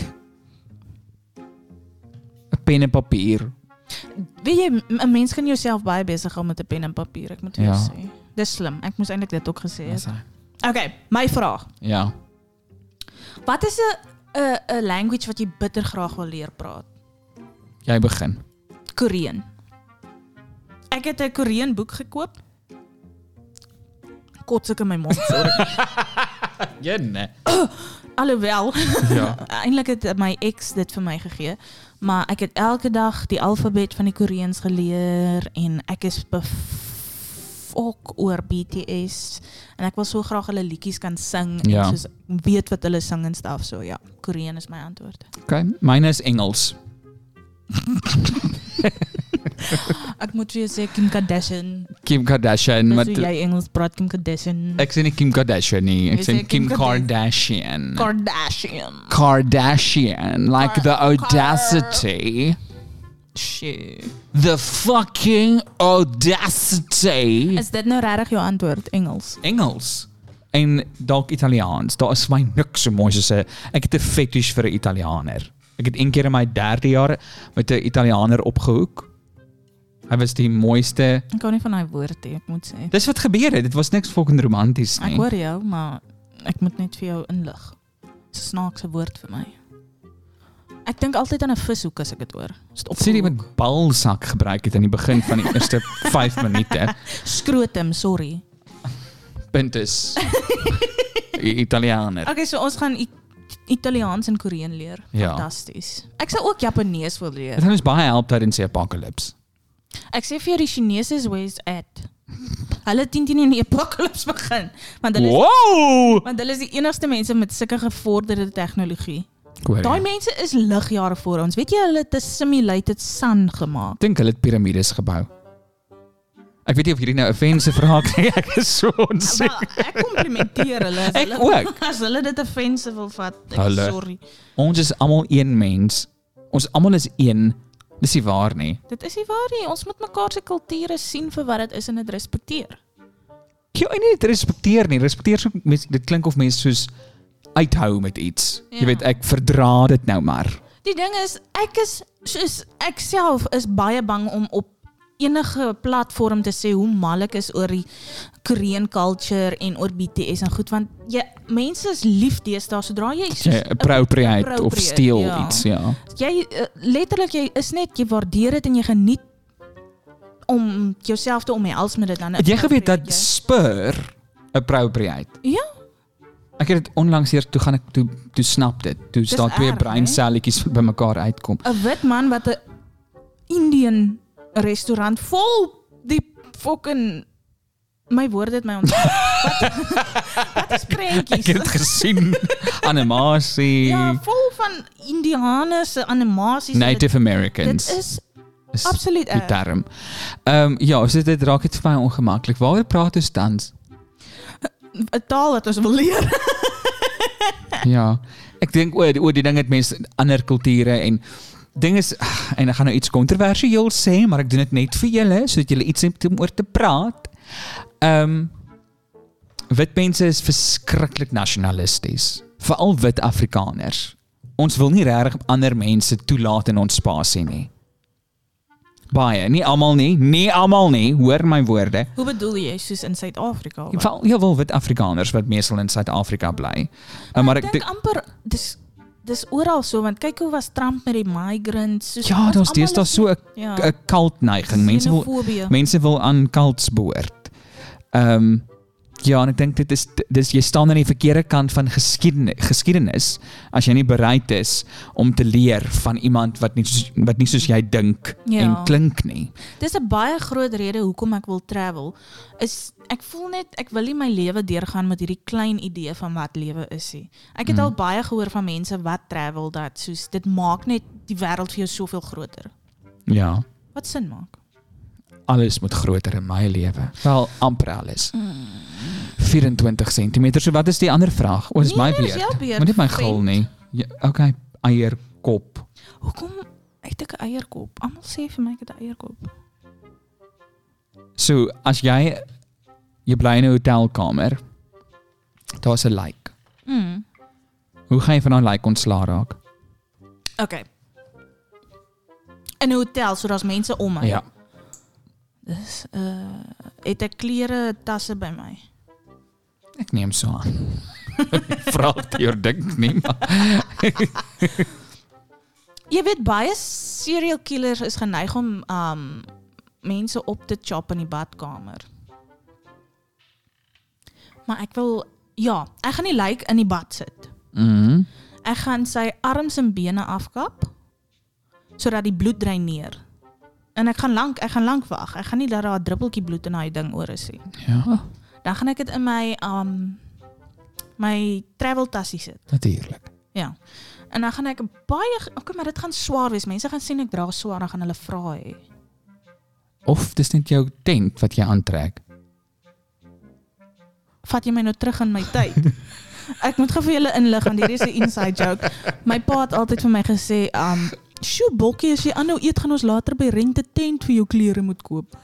S1: 'n pen en papier.
S2: Ja. Weet jy, m- 'n mens kan jouself baie besig hou met 'n pen en papier, ek moet vir jou
S1: Ja.
S2: sê. Dis slim. Ek moes eintlik dit ook gesê
S1: Dis
S2: het.
S1: hy.
S2: Okay, my vraag.
S1: Ja.
S2: Wat is 'n 'n 'n language wat jy bitter graag wil leer praat?
S1: Jy begin.
S2: Koreaan. Ek het 'n Koreaan boek gekoop. Kots ek in my mond. sorry.
S1: Ja, nee.
S2: Alhoewel,
S1: Ja.
S2: eintlik het my ex dit vir my gegee, maar ek het elke dag die alfabet van die Koreaans geleer en ek is befok oor BTS en ek wil so graag hulle liedjies kan sing en
S1: Ja.
S2: soos weet wat hulle sing en stuff, so ja, Koreaan is my antwoord.
S1: Okay, myne is Engels.
S2: Ek moet vir jou sê Kim Kardashian.
S1: Kim Kardashian, maar
S2: Dis hoe jy Engels praat Kim Kardashian.
S1: ek sê nie Kim Kardashian nie, ek
S2: Jy
S1: sê
S2: sê Kim
S1: Kim Kardashian.
S2: Kardashian.
S1: Kardashian, like
S2: Kar-
S1: the
S2: Kar-
S1: audacity.
S2: Shit.
S1: The fucking audacity.
S2: Is dit nou regtig jou antwoord Engels?
S1: Engels en dalk Italiaans. Daar is vir my niks so mooi soos 'n ek het 'n fetish vir 'n Italianer. Ek het een keer in my 3de jaar met 'n Italianer opgehoek. Hy was die mooiste.
S2: Ek hou nie van daai woord nie, ek moet sê.
S1: Dis wat gebeur het. Dit was niks fucking romanties
S2: Ek
S1: nie.
S2: hoor jou, maar ek moet net vir jou inlig. Dis 'n snaakse woord vir my. Ek dink altyd aan 'n vishoek as ek dit hoor. Is dit
S1: Sien jy
S2: opgehoek?
S1: met balsak gebruik het aan die begin van die eerste 5 minute.
S2: Skrotum, sorry.
S1: Punt is I- Italianer.
S2: Okay, so ons gaan I Italiaans en Koreaan leer.
S1: Ja.
S2: Fantasties. Ek sou ook Japanees wil
S1: Dit
S2: leer.
S1: gaan ons baie help tydens die apocalypse.
S2: Ek sê vir jou die Chinese is where it's at. Hulle teen teen in die apocalypse begin, want hulle is
S1: Wow!
S2: Want hulle is die enigste mense met sulke gevorderde tegnologie.
S1: Korea.
S2: Daai mense is ligjare voor ons. Weet jy hulle het 'n simulated sun gemaak?
S1: Ek dink hulle het piramides gebou. Ek weet nie of hierdie nou 'n offense vraag nie. Ek is so onseker.
S2: Maar ek komplimenteer hulle. as
S1: Ek
S2: hulle,
S1: ook.
S2: As hulle dit offensive wil vat, ek
S1: Hulle.
S2: hulle. sorry.
S1: Ons is almal een mens. Ons almal is een. Dis nie waar nie.
S2: Dit is nie waar nie. Ons moet mekaar se kulture sien vir wat dit is en dit respekteer.
S1: Jy en nie dit respekteer nie. Respekteer so mense dit klink of mense soos uithou met iets. Ja. Jy
S2: Ja.
S1: weet ek verdra dit nou maar.
S2: Die ding is, ek is soos ek self is baie bang om op enige platform te sê hoe mal ek is oor die Korean culture en oor BTS en goed want jy mense is lief deesdae sodra jy soos
S1: Jy appropriate of
S2: appropriate,
S1: steel ja.
S2: ja.
S1: iets, ja.
S2: jy eh, letterlik jy is net jy waardeer dit en jy geniet om jouself te omhels met dit dan.
S1: Het jy geweet dat
S2: appropriate
S1: spur appropriate?
S2: jy. Ja,
S1: Ek het dit onlangs hier toe gaan ek toe toe snap dit. Toe staan twee
S2: erg, né?
S1: breinselletjies wat bymekaar uitkom.
S2: 'n wit man wat 'n Indian restaurant vol die fucking my woord het my ontspan. wat, wat
S1: Ek
S2: is
S1: het
S2: prentjies?
S1: dit gesien. Animasie,
S2: Ja, vol van Indianese animasies. en
S1: Native
S2: dit, dit
S1: Americans.
S2: is
S1: is
S2: absoluut eh,
S1: die
S2: erg.
S1: term. Ehm ja, so dit raak dit vir my ongemaklik. Waaroor praat ons tans?
S2: 'n taal wat ons wil leer.
S1: Ja. Ek dink oor oor die ding het mense ander kulture en ding is en ek gaan nou iets kontroversieel sê, maar ek doen dit net vir julle sodat julle iets het om oor te praat. Ehm wit mense is verskriklik nasionalisties, veral wit Afrikaners. Ons wil nie regtig ander mense toelaat in ons spasie nie. Baie, nie almal nie, nie almal nie, hoor my woorde.
S2: Hoe bedoel jy soos in Suid-Afrika?
S1: Jy val heel veel wit Afrikaners wat meestal in Suid-Afrika bly. Uh, maar ek
S2: dink amper dis dis oral so want kyk hoe was Trump met die migrants soos
S1: Ja,
S2: ons
S1: daar's
S2: allemaal
S1: deesdae
S2: is
S1: so 'n
S2: Ja.
S1: 'n cult neiging. Mense wil
S2: xenofobie.
S1: mense wil aan cults behoort. Ehm ja, en ek dink dit is dis jy staan aan die verkeerde kant van geskiedenis, geskiedenis as jy nie bereid is om te leer van iemand wat nie soos- wat nie soos jy dink
S2: Ja.
S1: en klink nie.
S2: Dis 'n baie groot rede hoekom ek wil travel. Is ek voel net ek wil nie my lewe deurgaan met hierdie klein idee van wat lewe is nie. Ek
S1: Mm.
S2: het al baie gehoor van mense wat travel dat soos dit maak net die wêreld vir jou soveel groter.
S1: Ja,
S2: Wat sin maak?
S1: alles moet groter in my lewe. Wel amper alles.
S2: Mm.
S1: 24 cm. So wat is die ander vraag? O, is
S2: Nee,
S1: my
S2: nee, dis jou
S1: beurt.
S2: beurt,
S1: Moet net my gil
S2: vriend.
S1: nie. Ja, okay, eierkop.
S2: Hoekom het ek 'n eierkop? Almal sê vir my ek het 'n eierkop.
S1: So, as jy jy bly in 'n hotelkamer, daar's 'n lijk.
S2: Mm.
S1: Hoe gaan jy van daai lijk ontslaa raak?
S2: Okay. In 'n hotel, so daar's mense om my.
S1: Ja.
S2: Dis uh het ek klere, tasse by my.
S1: Ek neem so aan. Vra dit jou dink nie, maar
S2: Jy weet baie serial killers is geneig om um mense op te chop in die badkamer. Maar ek wil ja, ek gaan die lijk in die bad sit.
S1: mm,
S2: Ek gaan sy arms en bene afkap sodat die bloed dreineer. En ek gaan lank, ek gaan lank wag. Ek gaan nie dat daar 'n druppeltjie bloed in daai ding oor is nie.
S1: ja,
S2: Dan gaan ek dit in my um my travel tassie sit.
S1: natuurlik.
S2: Ja. En dan gaan ek baie okay, maar dit gaan swaar wees. Mense gaan sien ek dra swaar, dan gaan hulle vra hê.
S1: Of dis net jou tent wat jy aantrek.
S2: Vat jy my nou terug in my tyd? ek moet gou vir julle inlig want hierdie is 'n inside joke. My pa het altyd vir my gesê, um, "Sjoe bokkie, as jy aanhou eet, gaan ons later by rente tent vir jou klere moet koop."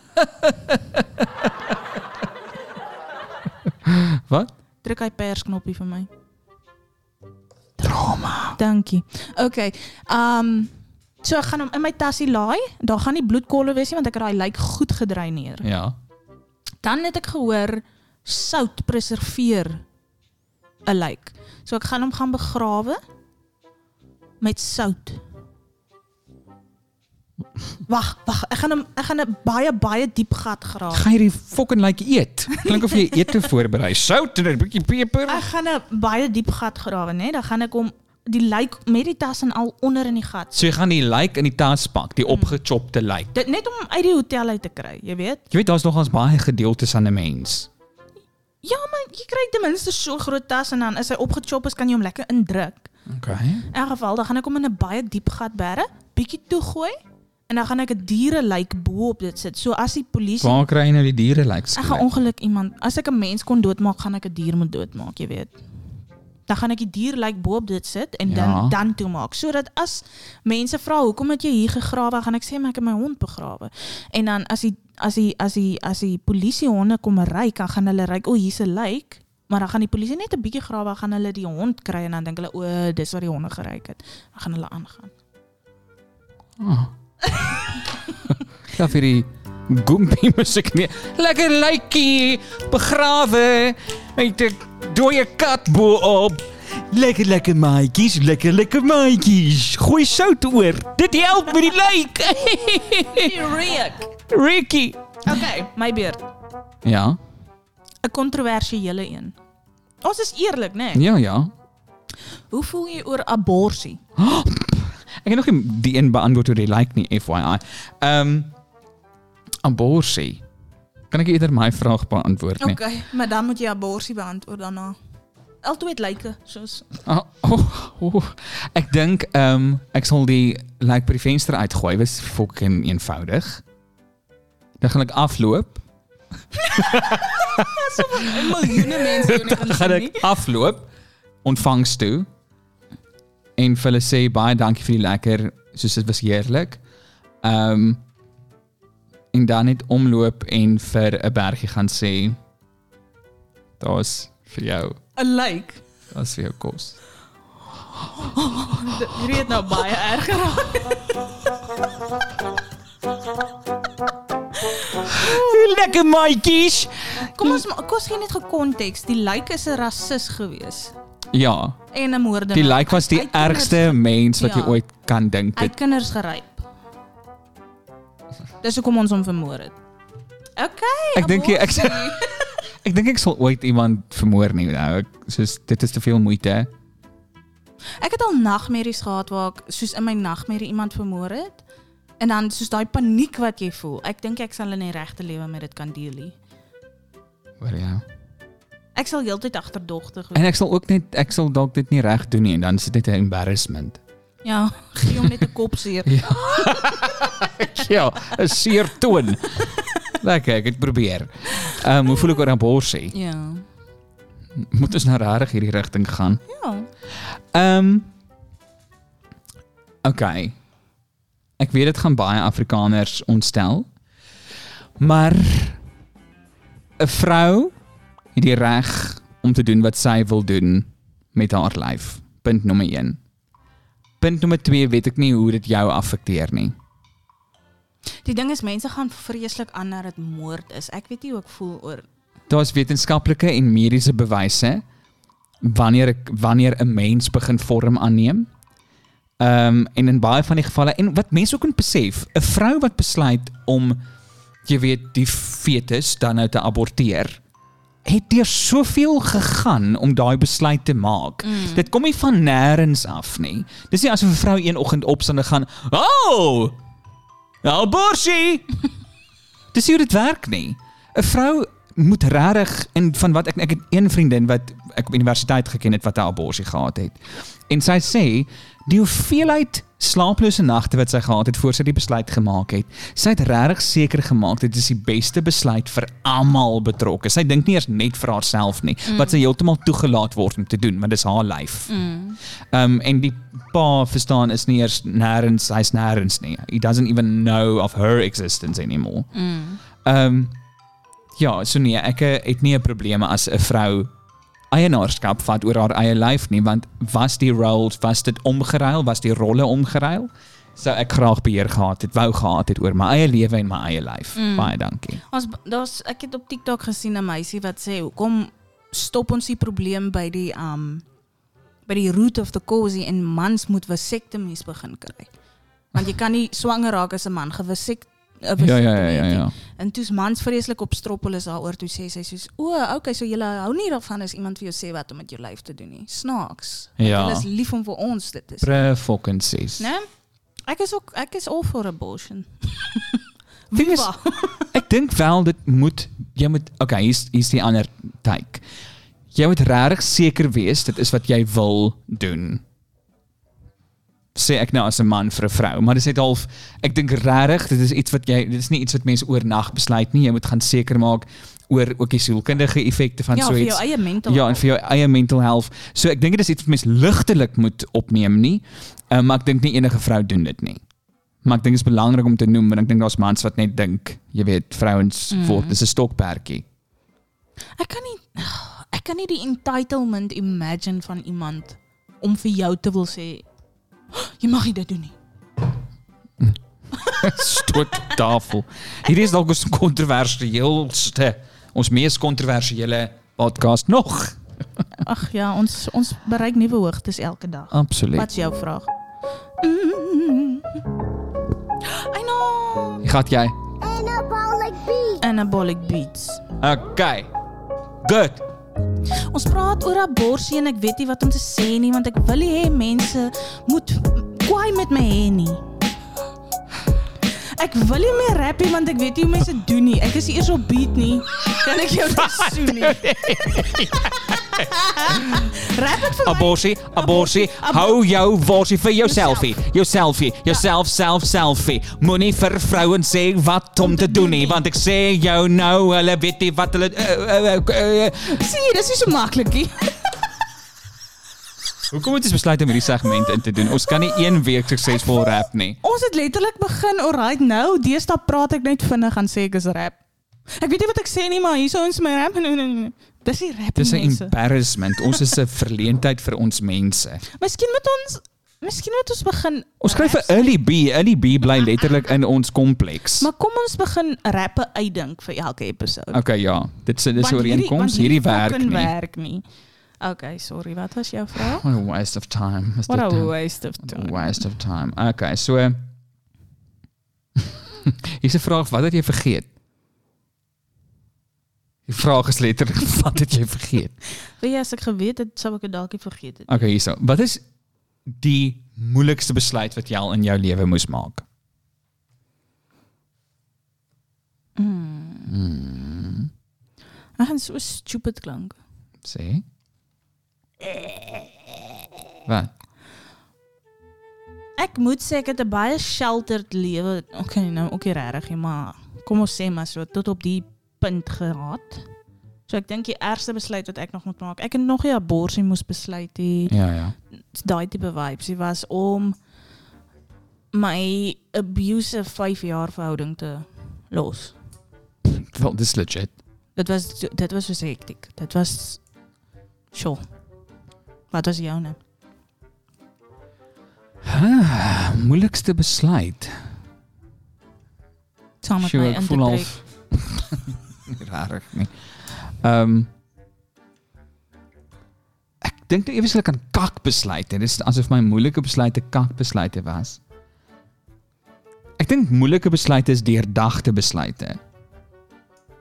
S1: Wat?
S2: Druk hy persknoppie vir my. Drama. Dankie. Okay. Um so ek gaan hom in my tassie laai. Daar gaan nie bloedkolle wees nie want ek het daai lijk goed gedreineer.
S1: Ja.
S2: Dan het ek gehoor sout preserveer 'n lijk. So ek gaan hom gaan begrawe met sout. Wag, wag, ek gaan hom ek gaan 'n baie baie diep gat grawe.
S1: Gaan jy die fucking lijk eet? Klink of jy ete voorberei. Sout en 'n bietjie
S2: Ek
S1: peper.
S2: gaan 'n baie diep gat grawe, né? Dan gaan ek hom die lijk met die tas en al onder in die gat.
S1: So jy gaan die lijk in die tas pak, die opgechopte lijk.
S2: Dit net om hom uit die hotel uit te kry, jy weet.
S1: Jy weet daar's nogals baie gedeeltes aan 'n mens.
S2: Ja, maar jy kry ten minste so groot tas en dan as hy opgechop is, kan jy hom lekker indruk.
S1: Okay.
S2: In elk geval, dan gaan ek hom in 'n baie diep gat bære, bietjie toegooi en dan gaan ek 'n dierelyk bo op dit sit. So as die polisie
S1: Waar kry jy nou die diere lijk?
S2: ek gaan ongeluk iemand, as ek 'n mens kon doodmaak, gaan ek 'n dier moet doodmaak, jy weet. Dan gaan ek die dierelyk bo op dit sit en
S1: Ja.
S2: dan dan toemaak sodat as mense vra hoekom het jy hier gegrawe, gaan ek sê maar ek het my hond begrawe. En dan as die as die as die as die polisie honde kom ry, kan gaan hulle ry, o, oh, hier's 'n lijk. Maar dan gaan die polisie net 'n bietjie grawe, gaan hulle die hond kry en dan dink hulle o, dis waar die honde geryk het. Dan gaan hulle aangaan.
S1: Oh. ja, vir die goompie musiek nie. Lekker lykie begrawe met 'n dooie kat bo op. Lekker lekker maatjies, lekker lekker maatjies. Gooi sout oor. Dit help met die lyk.
S2: Reek.
S1: Ricky.
S2: Okay, my beurt.
S1: Ja.
S2: 'n Kontroversiële een. Ons is eerlik, né? Nee?
S1: Ja, ja.
S2: Hoe voel jy oor abortus?
S1: Ek het nog nie die een beantwoord oor die lyk nie, FYI. Ehm um, abortus. Kan ek eerder my vraag beantwoord nie?
S2: Okay, maar dan moet jy abortus beantwoord daarna. Altyd lyke, soos
S1: Oh, oh, oh. Ek dink ehm ek sal die lijk by die venster uitgooi. Was fucking eenvoudig. Dan gaan ek afloop.
S2: miljoene mense doen
S1: Dan gaan ek afloop ontvangs toe. en vir hulle sê baie dankie vir die lekker, soos dit was heerlik. Ehm um, en dan net omloop en vir 'n bergie gaan sê daar's vir jou,
S2: 'n like.
S1: daar's vir jou kos.
S2: D- Hierdie het nou baie erg geraak.
S1: Lekker maatjies.
S2: Kom ons ma- kom ons gee net gekonteks. Die like is 'n rasis gewees
S1: Ja,
S2: en 'n moordenaar.
S1: die like was die
S2: Hy het kinders-
S1: ergste mens wat jy
S2: Ja.
S1: ooit kan dink.
S2: Hy
S1: het.
S2: het kinders geryp. Dis hoekom ons hom vermoor het. Okay.
S1: Ek dink jy- ek-
S2: abortus.
S1: Ek dink ek sal ooit iemand vermoor nie nou. Ek soos dit is te veel moeite.
S2: Ek het al nagmerries gehad waar ek soos in my nagmerrie iemand vermoor het. En dan soos daai paniek wat jy voel. Ek dink ek sal in die regte lewe met dit kan deel nie.
S1: Hoor jy?
S2: Ek sal heeltyd agterdogtig
S1: En
S2: wees.
S1: ek sal ook net ek sal dalk dit nie reg doen nie en dan is dit net 'n embarrassment.
S2: Ja, gee hom net 'n kop seer.
S1: Ja, 'n seer toon. Lekker, ek het probeer. Ehm um, hoe voel ek oor abortus?
S2: Ja.
S1: Moet ons nou regtig hierdie rigting gaan?
S2: Ja.
S1: Ehm um, Okay. Ek weet dit gaan baie Afrikaners ontstel. Maar 'n vrou het die reg om te doen wat sy wil doen met haar lyf. Punt nommer 1. Punt nommer 2 weet ek nie hoe dit jou affekteer nie.
S2: Die ding is mense gaan vreeslik aan dat dit moord is. Ek weet nie hoe ek voel oor
S1: Daar's wetenskaplike en mediese bewyse wanneer ek wanneer 'n mens begin vorm aanneem. Ehm um, en in baie van die gevalle en wat mense ook moet besef, 'n vrou wat besluit om jy weet die fetus dan nou te aborteer, het deur soveel gegaan om daai besluit te maak. Mm. Dit kom nie van nêrens af nie. Dis nie asof 'n vrou een oggend opstaan en gaan, "Oh! Abortie!" Dis nie hoe dit werk nie. 'n Vrou moet regtig in van wat ek ek het een vriendin wat ek op universiteit geken het wat 'n abortus gehad het. En sy sê die hoeveelheid slaaplose nagte wat sy gehad het voor sy die besluit gemaak het. Sy het regtig seker gemaak dit is die beste besluit vir almal betrokke. Sy dink nie eers net vir haarself nie, mm. wat sy heeltemal toegelaat word om te doen, want dis haar lyf.
S2: mm.
S1: Um en die pa verstaan is nie eers nêrens, hy's nêrens nie. He doesn't even know of her existence anymore.
S2: Mm.
S1: Ehm um, ja, so nee, ek eh, het nie 'n probleme as 'n vrou eienaarskap vat oor haar eie lyf nie, want was die roles, was dit omgeruil, was die rolle omgeruil? Sou ek graag beheer gehad het, wou gehad het oor my eie lewe en my eie lyf. Mm.
S2: Mm.
S1: Baie dankie.
S2: Ons daar's ek het op TikTok gesien 'n meisie wat sê, "Hoekom stop ons die probleem by die um by die root of the cause en mans moet vasectomies begin kry?" Want jy kan nie swanger raak as 'n man gewasek
S1: Ja ja ja ja ja.
S2: En toe's mans vreeslik op stroppel is daaroor toe sê sy soos, "O, okay, so jy hou nie daarvan as iemand vir jou sê wat om met jou lyf te doen nie." Snaaks.
S1: Ja.
S2: Hulle is lief om vir ons dit te sê.
S1: Pre fucking ses.
S2: Nee. Ek is ook ek is all for abortion.
S1: Ding is-
S2: Viva.
S1: Ek dink wel dit moet jy moet okay, hier's hier's die ander take. Jy moet regtig seker wees dit is wat jy wil doen. Sê ek nou as 'n man vir 'n vrou, maar dis net half ek dink regtig dit is iets wat jy dit is nie iets wat mense oornag besluit nie. Jy moet gaan seker maak oor ook die sielkundige effekte van
S2: Ja,
S1: so
S2: vir jou
S1: iets.
S2: eie mental.
S1: Ja, en
S2: health.
S1: vir jou eie mental health. So ek dink dit is iets wat mens ligtelik moet opneem nie. Uh, maar ek dink nie enige vrou doen dit nie. Maar ek dink dit is belangrik om te noem want ek dink daar's mans wat net dink, jy weet, vrouens
S2: Mm.
S1: mm. word dis 'n stokperdjie.
S2: Ek kan nie ek kan nie die entitlement imagine van iemand om vir jou te wil sê jy mag nie dit doen nie.
S1: Stoot tafel. Hierdie is dalk ons kontroversieelste, ons mees kontroversiële podcast nog.
S2: Ag ja, ons ons bereik nuwe hoogtes elke dag. Wat
S1: Absoluut.
S2: is jou vraag? Mm. I know
S1: Gat jy?
S4: Anabolic beat.
S2: anabolic beats.
S1: Okay. Good.
S2: Ons praat oor abortus en ek weet nie wat om te sê nie want ek wil nie hê mense moet kwaai met my hê nie. Ek wil nie meer rap nie want ek weet nie hoe mense doen nie. Ek is nie eers op beat nie. Kan ek jou dis soen nie? rap dit vir my.
S1: Abortie, abortie, hou jou worsie vir jou selfie. Jou selfie,
S2: Ja.
S1: jou self self selfie. Moenie vir vrouens sê wat om te
S2: Nee,
S1: doen nie, want ek sê jou nou, hulle eh, weet nie wat hulle uh, uh, uh, uh,
S2: Sien, dis nie so maklik nie.
S1: Hoekom het ons besluit om hierdie segment in te doen? Ons kan nie een week suksesvol rap nie.
S2: Ons het letterlijk begin, alright nou, deesdae praat ek net vinnig en sê ek is rap. Ek weet nie wat ek sê nie, maar hier is ons my rap. Nee, nee, nee. Dis die rap
S1: Dis 'n
S2: nie, mense.
S1: embarrassment. Ons is 'n verleentheid vir ons mense.
S2: Miskien moet ons Miskien moet ons begin
S1: Ons skryf vir
S2: raps-
S1: Early B. Early B bly letterlik in ons kompleks.
S2: Ja, Maar kom ons begin rappe uitdink vir elke episode.
S1: Okay, ja. Dit is dis 'n
S2: Want hierdie-
S1: ooreenkoms.
S2: want
S1: Hierdie werk
S2: fucking
S1: nie.
S2: werk nie. Okay, sorry, wat was jou vraag?
S1: What a waste of time. Is
S2: What
S1: dit
S2: a
S1: dan?
S2: waste of time.
S1: Waste of time. Okay, so Hier's 'n vraag, wat het jy vergeet? Die vraag is letterlik wat het jy vergeet?
S2: Weet jy Oh, as ek geweet het, sou ek dit dalk nie vergeet het.
S1: Okay, hierso. Wat is die moeilikste besluit wat jy al in jou lewe moes maak?
S2: Ag, dit is so stupid klank.
S1: Sê. Wat?
S2: Ek moet sê ek het 'n baie sheltered lewe. Okay, nou ook nie regtig nie, maar kom ons sê maar so tot op die punt gehad. So ek dink die ergste besluit wat ek nog moet maak, ek het nog nie 'n abortus moes besluit nie.
S1: Ja, ja.
S2: daai tipe vibes. Dit was om my abusive 5 jaar verhouding te los.
S1: Wel, dis legit.
S2: Dit was dit was so hektiek. Dit was sjoe. Wat was nou? joune?
S1: Moeilikste besluit.
S2: Saam met
S1: Sjoe,
S2: my
S1: ek
S2: in te
S1: voel al
S2: trek.
S1: rarig nie. Ehm ek dink nou eweslik aan kakbesluite. Dit is asof my moeilike besluite kakbesluite was. Ek dink moeilike besluite is deurdagte besluite,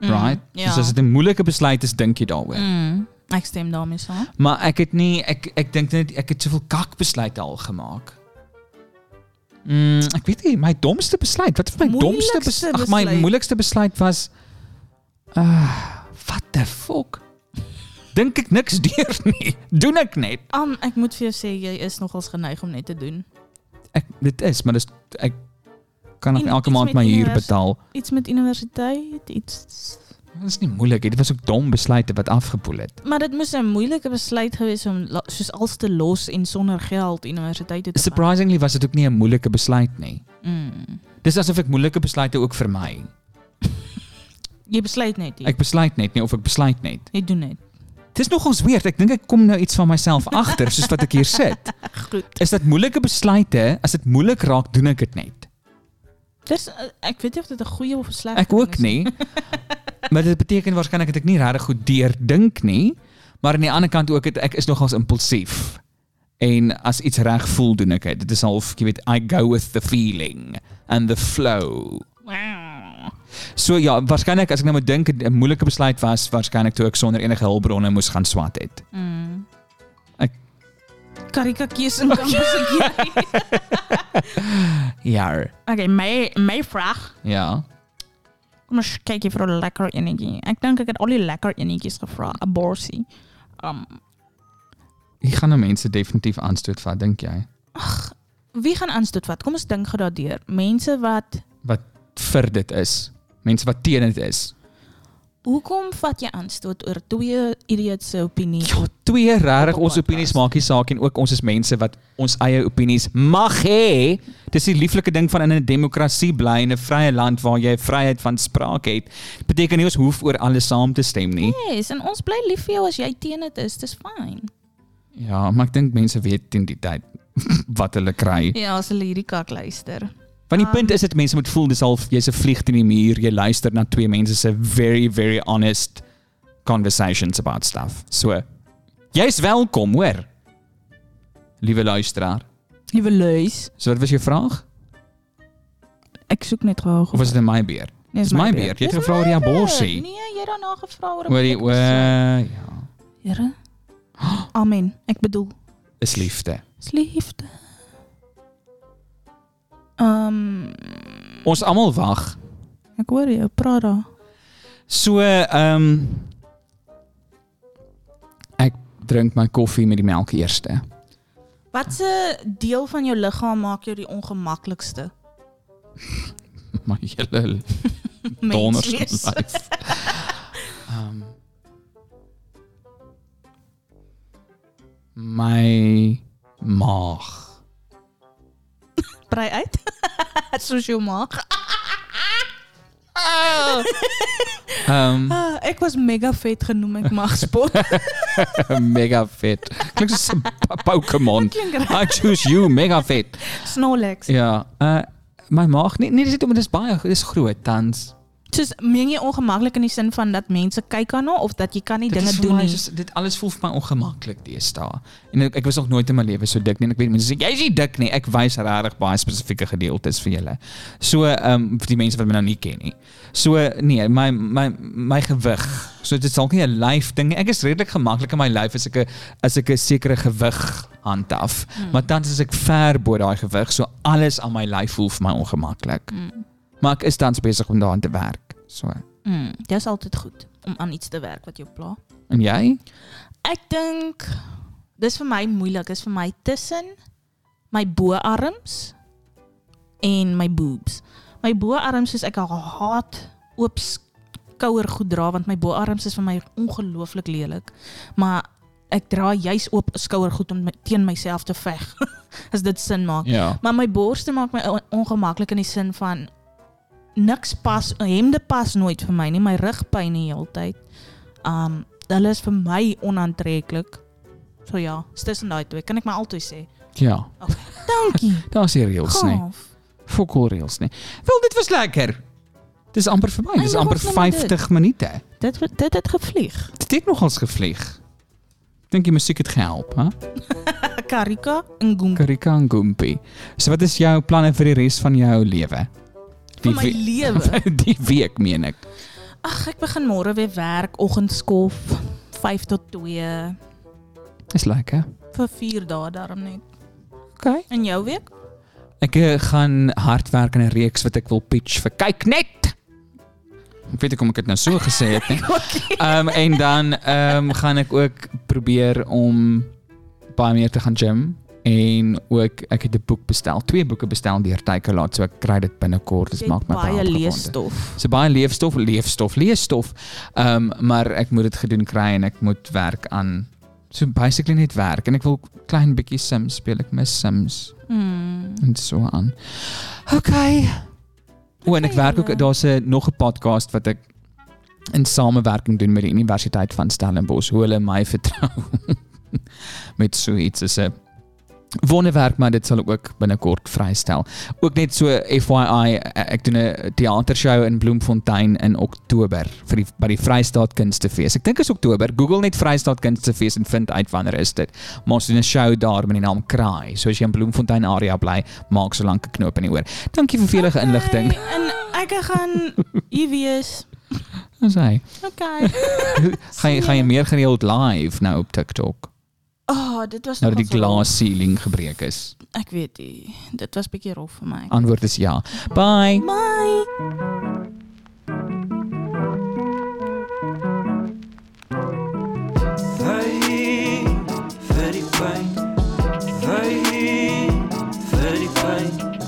S2: Mm,
S1: right?
S2: Ja.
S1: Dus as dit 'n moeilike besluit is, dink jy daaroor.
S2: mm, ek stem daarmee saam.
S1: Maar ek het nie ek ek dink net ek het soveel kakbesluite al gemaak. Mm, ek weet nie, my domste besluit, wat vir my domste
S2: Moeilikste
S1: besluit, ag my
S2: besluit.
S1: moeilikste besluit was ah, what the fuck? Dink ek niks deur nie. Doen ek net.
S2: Um ek moet vir jou sê jy is nogals geneig om net te doen.
S1: Ek dit is, maar dis ek kan nog
S2: En
S1: elke
S2: iets
S1: maand
S2: met
S1: my huur
S2: univers-
S1: betaal.
S2: Iets met universiteit, iets
S1: Dit is nie moeilik, dit was ook dom besluite wat afgepoel het.
S2: Maar dit moes 'n moeilike besluit gewees om la- soos als te los en sonder geld universiteit toe te gaan.
S1: Surprisingly was dit ook nie 'n moeilike besluit nie.
S2: Mm.
S1: Dis asof ek moeilike besluite ook vermy.
S2: Jy besluit net nie.
S1: Ek besluit net nie of ek besluit net.
S2: Jy doen net.
S1: Dis nogals weird. Ek dink ek kom nou iets van myself agter soos wat ek hier sit.
S2: Goed.
S1: Is dit moeilike besluite? As dit moeilik raak, doen ek dit net.
S2: Dis eh, ek weet nie of dit 'n goeie of 'n slegte
S1: Ek
S2: ding
S1: ook
S2: is
S1: nie. Maar dit beteken waarskynlik dat ek nie regtig goed deurdink nie, maar aan die ander kant ook het, ek is nogals impulsief. En as iets reg voel, doen ek dit. Dit is half, jy weet, I go with the feeling and the flow.
S2: Wow.
S1: So ja, waarskynlik as ek nou moet dink, 'n moeilike besluit was waarskynlik toe ek sonder enige hulpbronne moes gaan swat het.
S2: Mm.
S1: Ek-
S2: karikatjies in kampus ek jy.
S1: Ja.
S2: Okay, my my vraag.
S1: Ja.
S2: Kom ons kyk hier vir 'n lekker enetjie. Ek dink ek het al die lekker enetjies gevra. Aborsie. Um
S1: Hier gaan nou mense definitief aanstoot vat, dink jy?
S2: wie gaan aanstoot wat? Kom ons dink gou daardeur. Mense wat
S1: vir dit is. Mense wat teen dit is.
S2: Hoekom vat jy aanstoot oor twee idiots se opinie?
S1: Ja, twee regtig
S2: Op 'n
S1: ons opinies
S2: podcast.
S1: maak nie saak en ook ons is mense wat ons eie opinies mag hê. Dis die lieflike ding van in 'n demokrasie bly in 'n vrye land waar jy vryheid van spraak het. Beteken nie ons hoef oor alles saam te stem nie.
S2: Yes, en ons bly lief vir jou as jy teen dit is. Dis fyn.
S1: Ja, maar ek dink mense weet teen die tyd wat hulle kry.
S2: Ja, as hulle hierdie kak luister.
S1: Want die punt
S2: Um,
S1: is dat mense moet voel dis half jy's 'n vlieg teen die muur, jy luister na twee mense se very very honest conversations about stuff. So jy's welkom, hoor. Liewe luisteraar.
S2: Liewe luis,
S1: So wat was jou vraag?
S2: ek soek net gou.
S1: Of was dit in my beurt?
S2: Dis
S1: Nee, is my beurt. Jy het gevra oor die abortus.
S2: Nee, jy het daarna gevra oor
S1: Oor die o ja,
S2: Here. Amen. Ek bedoel,
S1: is liefde.
S2: is liefde. Ehm,
S1: Ons almal wag.
S2: ek hoor jou praat daar.
S1: So ehm um, ek drink my koffie met die melk eerste.
S2: Watse deel van jou liggaam maak jou die ongemaklikste?
S1: My hele donders
S2: Menswees.
S1: lyf. Ehm my maag.
S2: Brei uit. Soos jou maag.
S1: Ehm
S2: Ah, ek was mega vet genoem ek mag spot.
S1: mega vet. Klink soos 'n p- Pokémon.
S2: Klink reg.
S1: I choose you, mega vet.
S2: Snorlax.
S1: Ja, uh my maag nee nee dis net omdat dit is baie dis groot tans.
S2: Soos meen jy ongemaklik in die sin van dat mense kyk aan nou of dat jy kan nie
S1: Dit
S2: dinge
S1: is vir
S2: doen
S1: my
S2: nie.
S1: soos- dit alles voel vir my ongemaklik deesdae. En ek, ek was nog nooit in my lewe so dik nie. en Ek weet mense sê jy's nie dik nie. Ek wys regtig baie spesifieke gedeeltes vir julle. So ehm vir die mense wat my nou nie ken nie. So nee, my my my gewig. So dit is dalk nie 'n lyf ding nie. Ek is redelik gemaklik in my lyf as ek 'n as ek 'n sekere gewig handhaf.
S2: Hmm.
S1: Maar tans is ek ver bo daai gewig, so alles aan my lyf voel vir my ongemaklik.
S2: Hmm.
S1: Maar ek is tans besig om daaraan te werk. So.
S2: Mm, dit is altyd goed om aan iets te werk wat jou pla.
S1: En jy?
S2: Ek dink dis vir my moeilik, is vir my tussen my boarms en my boobs. My boarms is ek haat oop skouer goed dra want my boarms is vir my ongelooflik lelik. Maar ek dra juis oop skouer goed om my, teen myself te veg. As dit sin maak.
S1: Ja.
S2: Maar my borste maak my on- ongemaklik in die sin van niks pas, hemde pas nooit vir my nie, my rug pyn die hele tyd. Um hulle is vir my onaantreklik. So ja, is tussen daai twee. Kan ek my altyd sê.
S1: Ja.
S2: Dankie.
S1: Daar's hier reels, nee.
S2: Gaaf.
S1: Fokol reels nie. Wel dit was lekker. Dis amper verby. Dis
S2: Eindig
S1: amper
S2: ons nou met
S1: 50 minute.
S2: Dit wa- dit het gevlieg.
S1: Dit het nogals gevlieg. Ek Dink die musiek het gehelp, hè?
S2: Karika en Gumka.
S1: Karika en Gumpy. So wat is jou planne vir die res van jou lewe?
S2: Vir my
S1: we-
S2: lewe.
S1: die week meen ek.
S2: Ag, ek begin môre weer werk, oggendskof 5 tot 2
S1: Dis lekker.
S2: vir 4 dae daarom net.
S1: OK.
S2: En jou week?
S1: Ek eh, gaan hard werk aan 'n reeks wat ek wil pitch vir kyk net. Ek weet nie hoe ek dit nou so gesê het nie.
S2: Okay.
S1: Ehm en dan ehm gaan ek ook probeer om baie meer te gaan gym en ook ek het 'n boek bestel, twee boeke bestel deur Takealot, so ek kry dit binnekort. Dit
S2: Jy
S1: maak
S2: het
S1: my
S2: baie
S1: baie leesstof.
S2: leesstof.
S1: So baie leefstof, leefstof, leesstof. Ehm maar ek moet dit gedoen kry en ek moet werk aan so basically net werk en ek wil klein bietjie Sims speel. Ek mis Sims
S2: Mm.
S1: en so aan. Okay. O, en ek
S2: Okay,
S1: werk ook
S2: julle.
S1: daar's 'n nog 'n podcast wat ek in samewerking doen met die Universiteit van Stellenbosch. Hoe hulle my vertrou met so iets is 'n wonderwerk, maar dit sal ook binnekort vrystel. Ook net so FYI, eh, ek doen 'n teatershow in Bloemfontein in Oktober vir die by die Vrystaat Kunstefees. Ek dink is Oktober. Google net Vrystaat Kunstefees en vind uit wanneer is dit. Maar ons doen 'n show daar met die naam Kraai. So as jy in Bloemfontein area bly, maak so lank 'n knoop in die oor. Dankie vir velige inligting.
S2: Okay, en ek gaan hier wees.
S1: Ons hy.
S2: Okay.
S1: Gaan jy gaan jy meer gereeld live nou op TikTok
S2: Oh, dit was
S1: nou dat die
S2: nogal-
S1: glas ceiling gebreek is?
S2: Ek weet nie. Dit was bietjie rof vir my.
S1: Antwoord is ja. Bye.
S2: Bye.
S3: Verhit, vir die pyn. Verhit, vir die pyn.